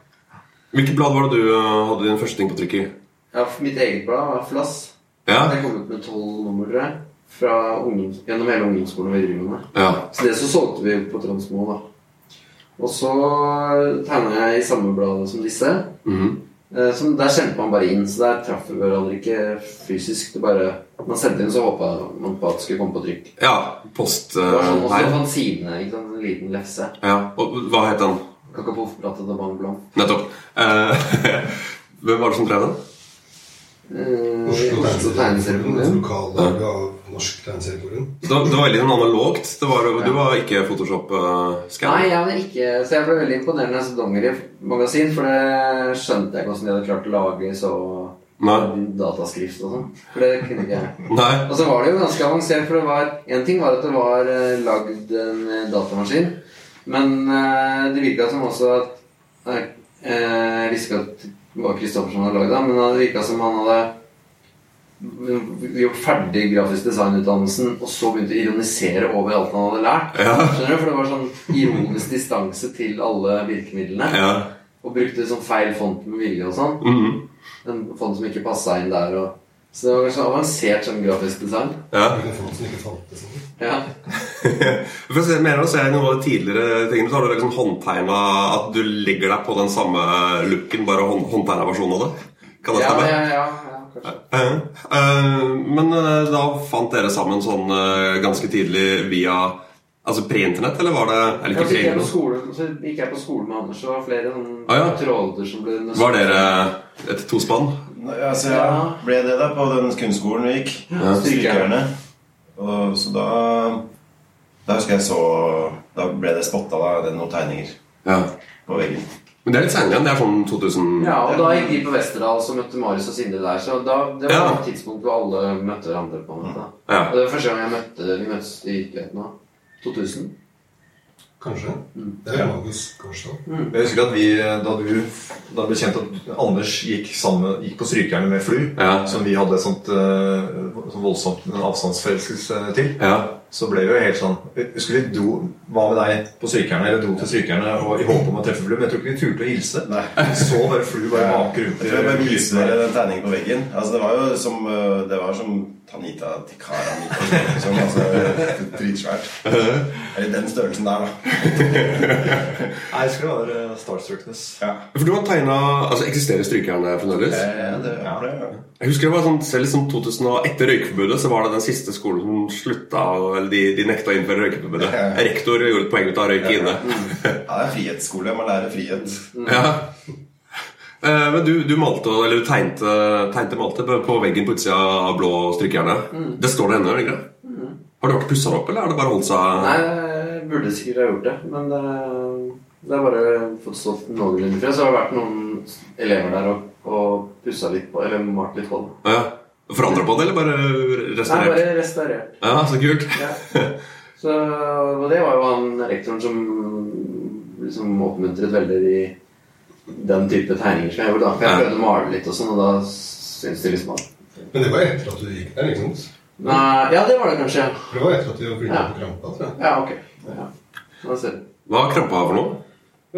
Speaker 2: Hvilket blad var det du eh, hadde din første ting på trykk i?
Speaker 3: Ja, for mitt eget blad var Flass.
Speaker 2: Ja.
Speaker 3: Jeg kom ut med tolv nummer, tror jeg. Fra ungdoms gjennom hele ungdomsskolen og videregående.
Speaker 2: ja.
Speaker 3: Så det så solgte vi på Transmo, da. Og så tegna jeg i samme bladet som disse.
Speaker 2: Mhm.
Speaker 3: Eh, Som der kjente man bare inn, så der traff vi hverandre ikke fysisk. Det bare, Man sendte inn, så håpa man på at det skulle komme på trykk.
Speaker 2: ja. Post... eh,
Speaker 3: Det var sånn, også
Speaker 2: her.
Speaker 3: fanzine. ikke sant? En liten lefse.
Speaker 2: ja. Og hva het den?
Speaker 3: Kakapoffplate og Bang Blanc.
Speaker 2: Nettopp. Eh, hvem var det som drev den?
Speaker 3: Eh,
Speaker 6: Oslo
Speaker 3: Oslo
Speaker 6: Tegneserieforum. Et
Speaker 3: tegneserieforum.
Speaker 6: lokallag av Norsk Tegneserieforum.
Speaker 2: Det var, det var veldig sånn analogt. Det var, du var ikke Photoshop-skanner?
Speaker 3: Nei, jeg hadde ikke Så jeg ble veldig imponert når jeg så Dongeri-magasin, for det skjønte jeg ikke hvordan de hadde klart å lage så
Speaker 2: Nei.
Speaker 3: dataskrift og sånn. For det kunne ikke jeg.
Speaker 2: Nei.
Speaker 3: Og så var det jo ganske avansert, for det var En ting var at det var eh, lagd en eh, datamaskin, men eh, det virka som også at Nei, eh, Jeg visste ikke at det var Kristoffer som hadde lagd det, men det virka som han hadde mm, gjort ferdig grafisk designutdannelsen, og så begynte å ironisere over alt han hadde lært.
Speaker 2: Ja.
Speaker 3: Skjønner du? For det var sånn ironisk distanse til alle virkemidlene.
Speaker 2: Ja.
Speaker 3: Og brukte sånn feil font med vilje og sånn.
Speaker 2: Mhm.
Speaker 3: En fond som ikke passa inn der. Og... Så det var kanskje avansert sånn grafisk design.
Speaker 2: Ja.
Speaker 6: Det er folk som ikke fantes. sånn.
Speaker 3: Ja.
Speaker 2: For å se mer av det, så er noen av de tidligere tingene Så har du liksom håndtegna At du legger deg på den samme looken, bare hånd, håndtegna versjonen av det. Kan det
Speaker 3: Ja,
Speaker 2: stemme?
Speaker 3: ja, ja, ja, kanskje.
Speaker 2: Eh, eh, men eh, da fant dere sammen sånn eh, ganske tidlig via Altså pre-internett, eller var det Eller
Speaker 3: Ja,
Speaker 2: ikke
Speaker 3: så gikk, jeg på
Speaker 2: pre-internett?
Speaker 3: skole, så gikk jeg på skole med Anders, og det var flere sånne
Speaker 2: Ah, ja.
Speaker 3: tråder som ble nesten-
Speaker 2: Var dere et tospann?
Speaker 4: Altså, jeg ble det da på den kunstskolen vi gikk.
Speaker 2: Ja.
Speaker 4: Strykerne. Og, så da Da husker jeg så Da ble det spotta da, det er noen tegninger
Speaker 2: Ja.
Speaker 4: på veggen.
Speaker 2: Men det er litt senere igjen. Det er sånn 2000
Speaker 3: Ja, og da gikk vi på Vesterdal, så møtte Marius og Sindre der. Så da, det var
Speaker 2: Ja.
Speaker 3: et tidspunkt hvor alle møtte hverandre. på en måte
Speaker 2: Ja.
Speaker 3: Og det var første gang jeg møtte vi møttes i virkeligheten da. 2000.
Speaker 6: Kanskje.
Speaker 2: Mm.
Speaker 6: Det er magisk, kanskje. da.
Speaker 9: Jeg husker at vi, da du da det ble kjent at Anders gikk, sammen, gikk på Strykerne med Flu,
Speaker 2: Ja.
Speaker 9: som vi hadde et sånt, eh, sånn voldsomt avstandsforelskelse til,
Speaker 2: Ja.
Speaker 9: så ble vi jo helt sånn Husker vi dro hva med deg på Strykerne, eller dro til Strykerne og i håp om å treffe Flu, men jeg tror ikke vi turte å hilse.
Speaker 4: Nei.
Speaker 9: Vi så bare Flu bare vake rundt
Speaker 4: Jeg tror jeg bare viser dere den tegningen på veggen. Altså, det var jo som øh, Det var som Tanita Tikara som, altså, Dritsvært. Eller den størrelsen der, da.
Speaker 9: Nei, jeg skulle være eh, starstruckness.
Speaker 4: Ja,
Speaker 2: For du har tegna Altså eksisterer strykejernet fremdeles?
Speaker 4: Eh, det var det. ja.
Speaker 2: Jeg husker det var sånn, selv i sånn 2000 og Etter røykeforbudet så var det den siste skolen som slutta Eller de, de nekta å innføre røykeforbudet.
Speaker 4: Ja, ja.
Speaker 2: Rektor gjorde et poeng ut av å røyke inne.
Speaker 4: Ja, det er frihetsskole. Man lærer frihet.
Speaker 3: Mm.
Speaker 2: Ja. Eh, Men du, du malte, eller du tegnte, tegnte malte på- på veggen på utsida av blå strykejernet.
Speaker 3: Mm.
Speaker 2: Det står det ennå, gjør det ikke det? Har du vært pussa opp, eller har det bare holdt seg
Speaker 3: Nei, jeg burde sikkert ha gjort det, men det, eh, det har bare fått stått noenlunde fri. Så har det vært noen elever der og, og pussa litt på, eller malt litt på det.
Speaker 2: Ja. Forandra på det, eller bare
Speaker 3: Nei,
Speaker 2: restaurert?
Speaker 3: bare restaurert.
Speaker 2: Ja, så kult.
Speaker 3: Ja. Så og det var jo han rektoren som liksom oppmuntret veldig i den type tegninger som jeg gjorde. da For jeg
Speaker 2: Ja.
Speaker 3: prøvde å male litt og sånn, og da syntes de liksom at
Speaker 6: Men det var etter at du gikk der, ikke sant?
Speaker 3: Nei, Ja, det var det kanskje. ja.
Speaker 6: For det var etter at du begynte
Speaker 3: Ja.
Speaker 6: på krampa, tror jeg.
Speaker 3: Ja, ok. Ja. Da ser du.
Speaker 2: Hva har krampa for noe?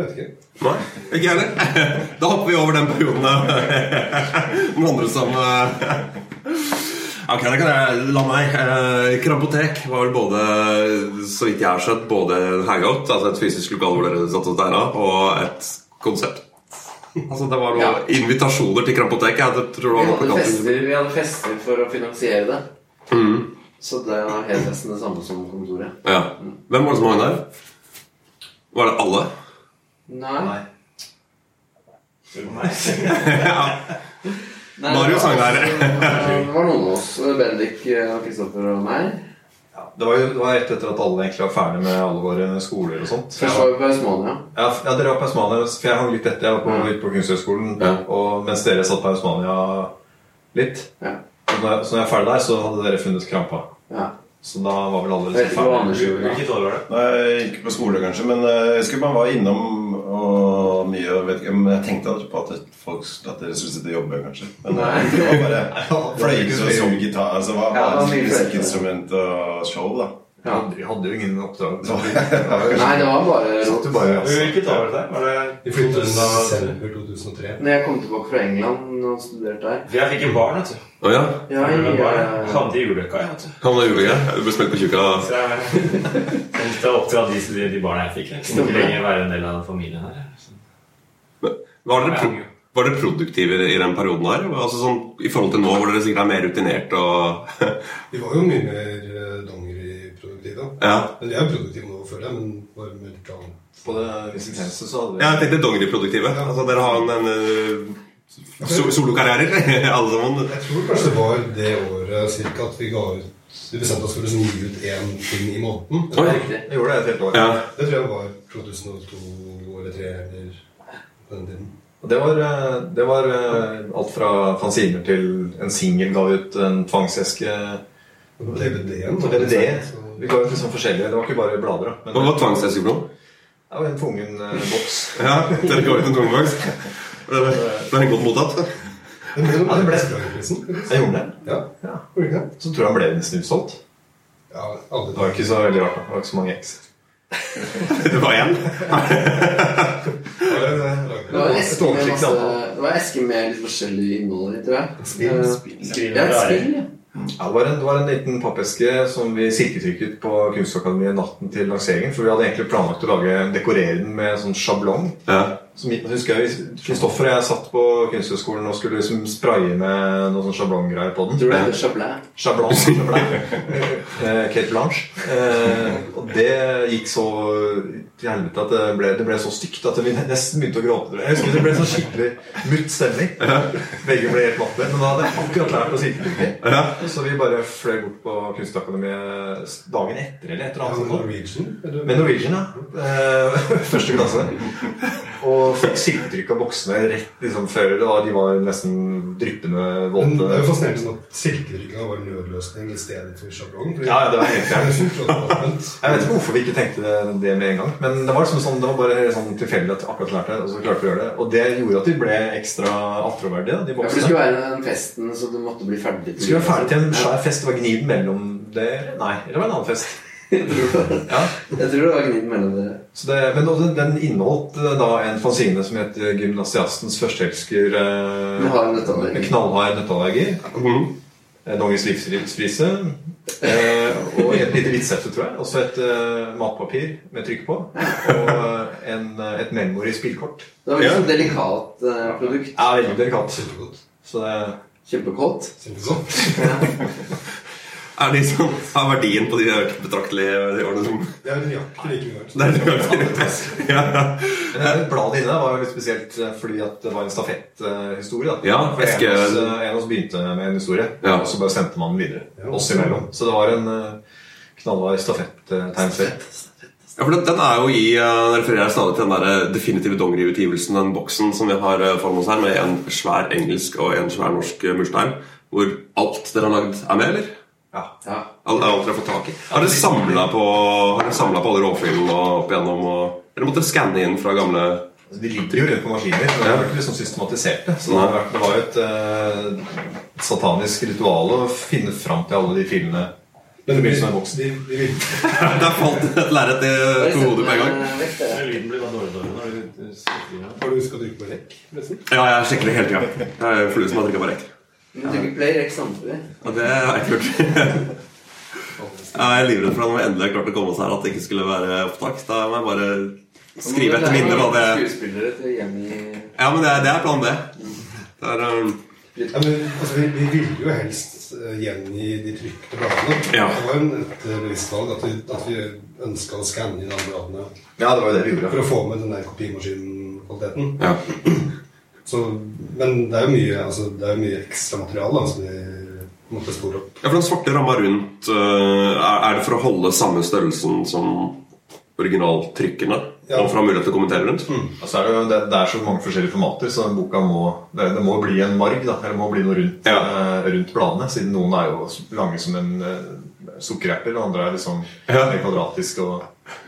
Speaker 6: Vet ikke.
Speaker 2: Nei, ikke jeg heller. Da hopper vi over den perioden. Den andre som eh, Ok, da kan jeg la meg. Eh, Krampotek var vel både, så vidt jeg har skjønt, både en hangout, altså et fysisk lokal hvor dere satt og tegna, og et konsert. Altså Det var noen
Speaker 3: Ja.
Speaker 2: invitasjoner til Krampotek. Jeg tror det
Speaker 3: Vi
Speaker 2: var noe
Speaker 3: hadde,
Speaker 2: på kanten.
Speaker 3: fester, vi hadde fester for å finansiere det.
Speaker 2: Mhm,
Speaker 3: Så det var helt nesten det samme som kontoret.
Speaker 2: ja. Hvem var det som hang der? Var det alle?
Speaker 3: Nei.
Speaker 9: Nei.
Speaker 3: Nei
Speaker 2: Marius hang der.
Speaker 3: Det var noen av oss. eh, Bendik og Kristoffer og meg.
Speaker 9: Ja, det, var jo, det var rett etter at alle egentlig var ferdig med alle våre skoler og sånt.
Speaker 3: Først var vi på Østmania.
Speaker 9: Ja, f- ja, dere var på Hausmania, for jeg hang litt etter. Jeg var på, litt på Kunsthøgskolen,
Speaker 2: Ja.
Speaker 9: og mens dere satt på Hausmania litt.
Speaker 3: Ja.
Speaker 9: Så når jeg, så når jeg er ferdig der, så hadde dere funnet krampa.
Speaker 3: Ja.
Speaker 9: Så da var vel alle
Speaker 3: Jeg vet
Speaker 9: liksom
Speaker 3: ikke hva Anders gjorde.
Speaker 9: ferdige.
Speaker 3: da.
Speaker 7: år var det?
Speaker 4: Nei, Ikke på skole, kanskje, men eh, jeg husker man var innom og mye og vet ikke, Men jeg tenkte aldri på at folk at dere skulle sitte og jobbe, kanskje. Men eh, det var bare fløyte og sånn gitar Altså, det var
Speaker 3: Ja, det var
Speaker 4: bare
Speaker 3: mye fløyte.
Speaker 4: musikkinstrument og show, da.
Speaker 9: Ja. Vi hadde jo ingen oppdrag. Så
Speaker 3: Nei, det var bare
Speaker 9: satt jo bare altså.
Speaker 7: Hvilket år var det? Var det
Speaker 6: Vi flyttet i
Speaker 7: 2000
Speaker 6: desember 2003.
Speaker 3: Når jeg kom tilbake fra England og studerte der
Speaker 7: For jeg fikk en barn, vet du.
Speaker 2: Å ja?
Speaker 3: Ja,
Speaker 7: Jeg ble
Speaker 3: jeg,
Speaker 7: barn.
Speaker 3: jeg,
Speaker 7: Havnet i ulykka, jeg, vet du.
Speaker 2: Han var julegreie. Du ble smelt på tjukka.
Speaker 7: Så jeg tenkte å oppdra de, de, de barna jeg fikk. Jeg kunne ikke lenger være en del av familien her. Så.
Speaker 2: Var dere, pro var dere produktive i den perioden der? Altså sånn, I forhold til nå, hvor dere sikkert er mer rutinert og
Speaker 6: Vi var jo mye mer eh, dongeriproduktive.
Speaker 2: Ja,
Speaker 6: Men vi er produktive nå, føler jeg, men bare med litt annen
Speaker 9: På det visitenset så hadde vi
Speaker 2: ja jeg tenkte dongeriproduktive. Altså, dere har en, en eh, so solokarrierer, alle sammen.
Speaker 6: Jeg tror kanskje det var det året cirka at vi ga ut Vi bestemte oss for å liksom gi ut én ting i måneden.
Speaker 2: Oi.
Speaker 3: riktig.
Speaker 9: Jeg gjorde det et helt år.
Speaker 2: Ja.
Speaker 6: Det tror jeg var 2002 eller 2003 eller på den tiden.
Speaker 9: Og Det var, eh, det var eh, alt fra fanziner til en singel ga ut en tvangseske
Speaker 6: Og DVD-en.
Speaker 9: på DVD. Vi ga ut liksom forskjellige. Det var ikke bare blader. da.
Speaker 2: Hva
Speaker 9: Men
Speaker 2: var tvangsessig for noe?
Speaker 9: det var en tvungen eh, boks.
Speaker 2: Ja, dere går ut en tvangboks. Ble ble den godt mottatt?
Speaker 6: Den ble
Speaker 9: Ja,
Speaker 6: noe
Speaker 9: det ble-
Speaker 6: Vestlandsprisen.
Speaker 9: Jeg gjorde det.
Speaker 6: Ja,
Speaker 9: Ja.
Speaker 6: gjorde den ikke det?
Speaker 9: Så tror jeg han ble nesten utsolgt.
Speaker 6: Ja, alle
Speaker 9: Det var
Speaker 6: dager.
Speaker 9: ikke så veldig rart. da. Det var ikke så mange eks.
Speaker 2: Det var én.
Speaker 6: Det
Speaker 3: Det var en
Speaker 6: var
Speaker 3: eske med, masse,
Speaker 6: samtale.
Speaker 3: det var en eske med litt forskjellig innhold i, tror jeg.
Speaker 6: Spill,
Speaker 3: Eh, Ja, et
Speaker 7: rare.
Speaker 3: spill, ja.
Speaker 9: Ja, det, var en, det var en liten pappeske som vi silketrykket på Kunstakademiet natten til lanseringen. For vi hadde egentlig planlagt å lage, dekorere den med sånn sjablong.
Speaker 2: Ja.
Speaker 9: Som, jeg husker jeg, Kristoffer og jeg satt på Kunsthøgskolen og skulle liksom spraye med noen sånn sjablonggreier på den.
Speaker 3: Tror du det heter Chablis?
Speaker 9: Sjablon, Kate Blanche. Eh, og det gikk så til helvete at det ble, det ble så stygt at vi nesten begynte å gråte. Jeg husker Det ble sånn skikkelig mutt stemning. Begge ble helt matte. Men da hadde jeg akkurat lært å silkedukke. Så vi bare fløy bort på Kunstakademiet dagen etter eller et eller annet. sånt.
Speaker 6: Norwegian?
Speaker 9: Med Norwegian, ja. Eh, Første klasse. Og fikk silketrykk av voksne rett liksom, før det var, de var nesten dryppende
Speaker 6: Men det er jo
Speaker 9: våte.
Speaker 6: fascinerende sånn at silkedrikkinga var en nødløsning i stedet for sjablong. fordi-
Speaker 9: Ja, ja, det var helt
Speaker 6: Det
Speaker 9: fjernt.
Speaker 6: er så flott åpent.
Speaker 9: Jeg vet ikke hvorfor vi ikke tenkte det, det med en gang. Men det var, liksom sånn, det var bare helt sånn tilfeldig at vi akkurat lærte det. Og så klarte vi å gjøre det Og det gjorde at vi ble ekstra attråverdige.
Speaker 3: Ja,
Speaker 9: da, De
Speaker 3: for det
Speaker 9: voksne.
Speaker 3: skulle være den festen, så du måtte bli ferdig
Speaker 9: Vi skulle være ferdig til en svær fest. Det var gniden mellom det Nei, det var en annen fest.
Speaker 3: Ja.
Speaker 9: Ja.
Speaker 3: Jeg tror det var gnidd mellom dere.
Speaker 9: Så det, men da- den, den inneholdt eh, da en fanzine som het eh, 'Gymnasiastens førsteelsker'. eh,
Speaker 3: Med hard nøtteallergi.
Speaker 9: Med knallhard nøtteallergi. Eh, Donges livsrivsprise. Eh, og et lite hvitshefte, tror jeg. Og så et eh, matpapir med trykk på. Og eh, en, eh, et memory spillkort.
Speaker 3: Det var liksom delikat eh, produkt.
Speaker 9: Ja, veldig delikat.
Speaker 6: Kjempegodt.
Speaker 9: Så det
Speaker 3: Kjempekåt.
Speaker 6: Kjempegodt.
Speaker 2: Er de som har verdien på de økt betraktelig i årene som
Speaker 6: Det er nøyaktig like mye verdt.
Speaker 2: Det er det vi har ja.
Speaker 9: Men det bladet inne var jo litt spesielt eh, fordi at det var en stafetthistorie. da.
Speaker 2: Ja,
Speaker 9: For
Speaker 2: eske-
Speaker 9: en, av oss, eh, en av oss begynte med en historie,
Speaker 2: Ja.
Speaker 9: og så bare sendte man den videre.
Speaker 6: Ja.
Speaker 9: Oss imellom. Så det var en eh, knallhard stafetttegneserie.
Speaker 2: ja, for den, den er jo i eh, Den refererer stadig til den der eh, definitive dongeriutgivelsen, den boksen som vi har eh, foran oss her, med en svær engelsk og en svær norsk eh, murstein, hvor alt dere har lagd, er med, eller?
Speaker 9: Ja.
Speaker 3: Ja.
Speaker 2: Alt, alt dere har fått tak i? Har dere samla på, har dere samlet på alle råfyllene og opp igjennom? Og, eller måtte dere skanne inn fra gamle
Speaker 9: Altså, De ligger jo rundt på maskiner, men det var ikke liksom systematisert. det. Så det
Speaker 2: Nei.
Speaker 9: var, det var jo et eh, satanisk ritual å finne fram til alle de filene.
Speaker 6: Men det blir
Speaker 9: som
Speaker 6: sånn
Speaker 9: er voksen.
Speaker 6: de, de vil
Speaker 2: Der falt et lerret i to hoder på en gang.
Speaker 3: Eh, vekk dere.
Speaker 7: Lyden blir bare dårligere og dårligere når du skriver.
Speaker 6: Har du huska å drikke med rekk? forresten?
Speaker 2: Ja, jeg sjekker det hele tida. Jeg er flue som har drikka på rekk.
Speaker 3: Men du ikke play rekk samtidig.
Speaker 2: Ja, det har jeg ikke gjort. Ja, jeg er livredd for at når vi endelig har klart å komme oss her, at det ikke skulle være opptak. Da må jeg bare skrive etter minne hva det
Speaker 3: Skuespillere til Jenny
Speaker 2: Ja, men det er, det er plan B. Det er, um,
Speaker 6: Ja, men, altså, vi, vi ville jo helst eh, gjengi de trykte bladene.
Speaker 2: Ja.
Speaker 6: Det var jo et eh, bevisst valg at vi, at vi ønska å skanne inn alle bladene
Speaker 9: Ja, det var jo det vi gjorde.
Speaker 6: for å få med den der kopimaskinkvaliteten.
Speaker 2: ja.
Speaker 6: Så, men det er jo mye, altså, det er jo mye ekstra materiale da, som vi måtte spore opp.
Speaker 2: ja, for den svarte ramma rundt øh, Er er det for å holde samme størrelsen som originaltrykkene?
Speaker 6: Ja.
Speaker 2: Og for å ha mulighet til å kommentere rundt?
Speaker 9: Og så er det, jo, det, det er så mange forskjellige formater, så boka må det, det må bli en marg. Da, eller det må bli noe rundt,
Speaker 2: Ja.
Speaker 9: eh, rundt bladene, siden noen er jo s- lange som en eh, sukkererter, og andre er liksom
Speaker 2: Ja.
Speaker 9: mer kvadratisk. Og,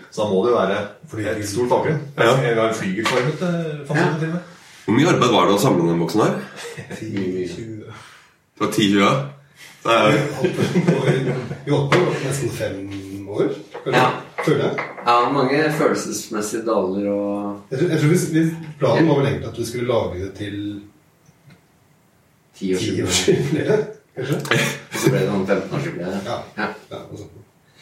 Speaker 9: så da må det jo være
Speaker 6: Flygel.
Speaker 9: et stort bakgrunn.
Speaker 2: Ja.
Speaker 9: Vi har en flygelformet eh, fanzine til og med.
Speaker 2: Hvor mye arbeid var det å samle den boksen her? Det var 10-20? ja. Det er jo
Speaker 6: Vi holdt på nesten fem år, føler jeg.
Speaker 3: Ja.
Speaker 6: Føler jeg.
Speaker 3: Ja, mange følelsesmessige daler og
Speaker 6: Jeg tror, jeg tror hvis, hvis planen var vel egentlig at vi skulle lage det til
Speaker 3: tiårsjubileum.
Speaker 6: tiårsjubileet, kanskje?
Speaker 3: Og så ble det sånn 15-årsjubileum.
Speaker 6: Ja.
Speaker 3: Ja.
Speaker 6: ja altså.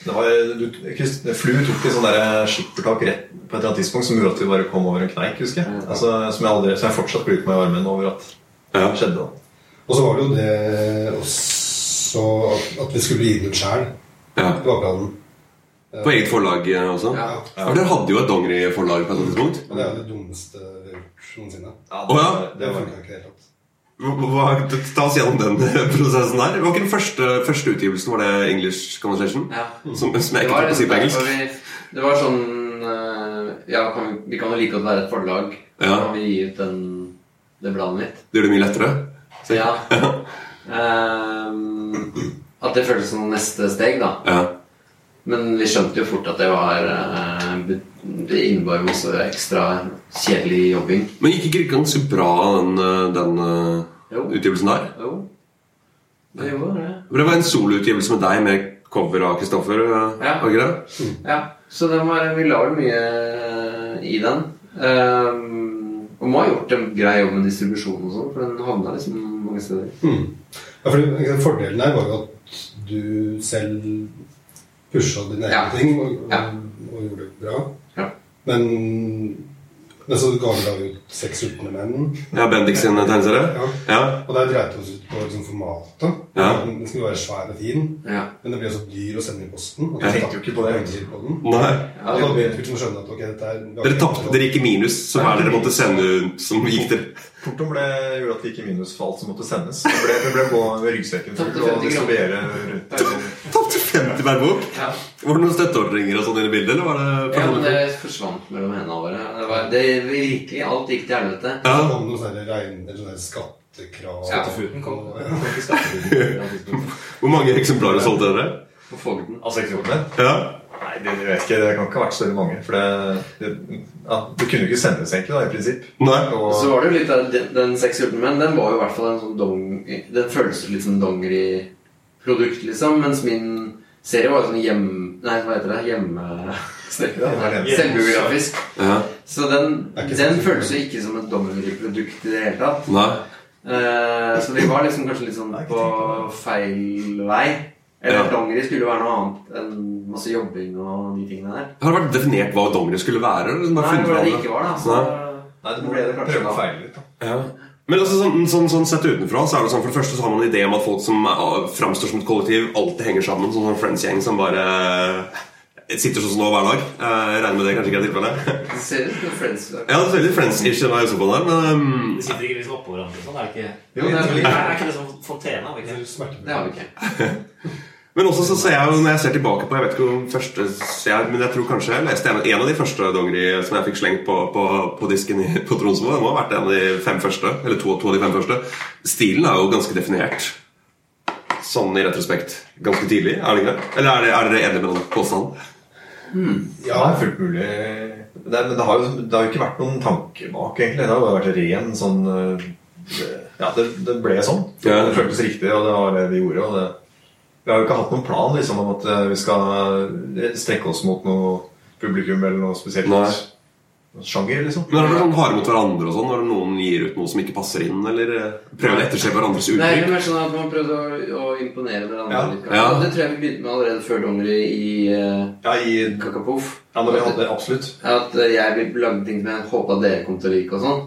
Speaker 9: Det var, du, Krist- Flu tok et sånn der skippertak rett på et eller annet tidspunkt som gjorde at vi bare kom over en kneik, husker jeg.
Speaker 3: Ja.
Speaker 9: Altså, som jeg aldri, så jeg fortsatt blir ut meg i armen over at det
Speaker 2: Ja.
Speaker 9: skjedde. da.
Speaker 6: Og så var det jo det også at, at vi skulle gi den ut sjæl.
Speaker 2: ja.
Speaker 6: Det var planen.
Speaker 2: På eget forlag eh, også?
Speaker 3: Ja.
Speaker 2: Ja, for Dere hadde jo et dongeriforlag på et tidspunkt.
Speaker 6: Og det er jo det dummeste vi har gjort noensinne.
Speaker 9: Ja,
Speaker 2: Å, ja.
Speaker 9: det
Speaker 6: Det
Speaker 9: var
Speaker 6: funka ikke i det hele tatt.
Speaker 2: Hva- hva- Ta oss gjennom den prosessen der. Det var ikke den første, første utgivelsen, var det English Conversation?
Speaker 3: Ja.
Speaker 2: Som, som jeg
Speaker 3: Det
Speaker 2: ikke
Speaker 3: var,
Speaker 2: klarte å si på engelsk.
Speaker 3: derfor vi, det var sånn eh, Ja, kan vi, vi kan jo like godt være et forlag.
Speaker 2: Ja.
Speaker 3: Kan vi gi ut den, det bladet mitt?
Speaker 2: Det gjør det mye lettere.
Speaker 3: Ja. Ehm, at det føltes som neste steg, da.
Speaker 2: Ja.
Speaker 3: Men vi skjønte jo fort at det var eh, be- Det innebar masse ekstra kjedelig jobbing.
Speaker 2: Men gikk ikke det ganske bra, den, eh, den eh,
Speaker 3: Jo.
Speaker 2: utgivelsen der?
Speaker 3: Jo. Det gjorde det.
Speaker 2: For Det var en soloutgivelse med deg med cover av Kristoffer. eh,
Speaker 3: Ja.
Speaker 2: var ikke det?
Speaker 3: Ja. Så den var, vi la jo mye eh, i den. Ehm, og må ha gjort en grei jobb med distribusjon og sånn, for den havna liksom mange steder.
Speaker 6: Hmm. Ja, fordi ikke sant, Fordelen her var jo at du selv pusha dine egne
Speaker 3: Ja.
Speaker 6: ting og, og,
Speaker 3: Ja.
Speaker 6: og gjorde det bra.
Speaker 3: Ja.
Speaker 6: Men, men så ga vi da ut Seks sultne menn.
Speaker 2: Ja, Bendik sin eh, tegneserie?
Speaker 6: Ja.
Speaker 2: Ja.
Speaker 6: Og der dreit vi oss ut på liksom, formatet.
Speaker 2: Ja.
Speaker 6: Den skulle være svær og fin,
Speaker 3: Ja.
Speaker 6: men det ble så dyr å sende i posten. Og
Speaker 2: Jeg
Speaker 6: vi
Speaker 2: tenkte
Speaker 6: tapte penger på den.
Speaker 2: Nei.
Speaker 3: Ja,
Speaker 6: Og da
Speaker 3: det,
Speaker 6: vet vi ikke om å skjønne at ok, dette er
Speaker 2: Dere tapte, dere gikk i minus. Så hva er det dere måtte sende ut som gikk til
Speaker 9: Portoen ble, gjorde at det gikk i minus for alt som måtte sendes. Det ble, det ble gå med ryggsekken full og distribuere rundt.
Speaker 2: Tapte 50 per bok!
Speaker 3: ja.
Speaker 2: Var det noen støtteordninger og sånn inne i bildet? eller var det
Speaker 3: ja, men
Speaker 2: personlig?
Speaker 3: det forsvant mellom hendene våre. Det, var, det virkelig Alt gikk til helvete.
Speaker 2: Ja.
Speaker 6: Så kom det noen sånne regn- eller sånne skattekrav.
Speaker 3: Ja.
Speaker 7: Skattefuten kom.
Speaker 6: og-
Speaker 2: Hvor mange eksemplarer solgte dere?
Speaker 3: På fogden.
Speaker 9: Altså eksemplene?
Speaker 2: Ja.
Speaker 9: Nei, det vet jeg ikke. Det kan ikke ha vært større mange. For det, det, ja, det kunne jo ikke sendes, egentlig, da, i prinsipp.
Speaker 2: Nei.
Speaker 9: Og,
Speaker 3: Og så var det jo litt av den, den seks sultne menn. Den var jo i hvert fall en sånn dong... Den føltes litt som dongeriprodukt, liksom. Mens min serie var jo sånn hjem... Nei, hva heter det? Hjemme...
Speaker 9: Hjemme-
Speaker 3: Selvbiografisk.
Speaker 2: ja.
Speaker 3: Så den,
Speaker 6: Det er ikke
Speaker 3: den
Speaker 6: sant.
Speaker 3: føltes jo ikke som et dongeriprodukt i det hele tatt.
Speaker 2: Nei.
Speaker 3: Eh, så vi var liksom kanskje litt sånn
Speaker 9: Nei, ikke
Speaker 3: på feil vei. Eller
Speaker 2: Ja.
Speaker 3: dongeri skulle jo være noe annet enn masse jobbing og de tingene der.
Speaker 2: Har det vært definert hva dongeri skulle være? Eller?
Speaker 3: Nei,
Speaker 2: bare funnet
Speaker 3: det var det
Speaker 2: hverandre?
Speaker 3: ikke var, da. Så,
Speaker 9: Nei, du
Speaker 3: Nå
Speaker 9: må
Speaker 3: ble det kanskje
Speaker 9: prøve
Speaker 3: da.
Speaker 9: å feile litt. Da.
Speaker 2: Ja. Men altså, sånn, sånn, sånn sett utenfra så er det sånn, for det første så har man en idé om at folk som er- framstår som et kollektiv, alltid henger sammen. Sånn sånn Friends-gjeng som bare eh, sitter sånn som nå hver dag. Eh, Jeg regner med det kanskje ikke er tilfellet.
Speaker 3: det ser ut som Friends.
Speaker 2: Ja, det er veldig Friends-ish i meg også på der, men ehm,
Speaker 7: De sitter ikke liksom oppå hverandre og sånn. Er det ikke,
Speaker 3: Jo, det er,
Speaker 7: Nei, er ikke det som fontena? er det ikke?
Speaker 6: Eller smertefullt.
Speaker 3: det har vi ikke.
Speaker 2: Men også så ser jeg jo, når jeg ser tilbake på Jeg vet ikke om første jeg, Men jeg tror kanskje jeg leste en, en av de første dongeri som jeg fikk slengt på, på, på disken i, på Tronsmo. Det må ha vært en av de fem første. Eller to, to av de fem første. Stilen er jo ganske definert. Sånn i retrospekt. Ganske tidlig, er det ikke det? Eller er, det, er dere enige med den påstanden?
Speaker 9: Ja, det er fullt mulig. Det, er- men det har, jo, det har jo ikke vært noen tanke bak, egentlig. Det har bare vært ren sånn øh, det- Ja, det, det ble sånn.
Speaker 2: Ja.
Speaker 9: Det føltes riktig, og det var det vi gjorde. Og det, vi har jo ikke hatt noen plan liksom, om at øh, vi skal eh, strekke oss mot noe publikum eller noe spesielt
Speaker 2: Nei.
Speaker 9: sjanger, liksom.
Speaker 2: Men Er dere sånn harde mot hverandre og sånn når noen gir ut noe som ikke passer inn? Eller eh, prøver å etterse hverandres
Speaker 3: Nei, det er
Speaker 2: uttrykk?
Speaker 3: mer sånn at man prøvde å, å imponere hverandre.
Speaker 9: Ja.
Speaker 3: litt, kanskje.
Speaker 2: Ja.
Speaker 3: Det tror jeg vi begynte med allerede før dongeri i uh,
Speaker 9: Ja, i, ja,
Speaker 3: Kakapoff.
Speaker 9: når vi hadde absolutt.
Speaker 3: At eh, jeg lagde ting som jeg håpa dere kom til å like. og sånn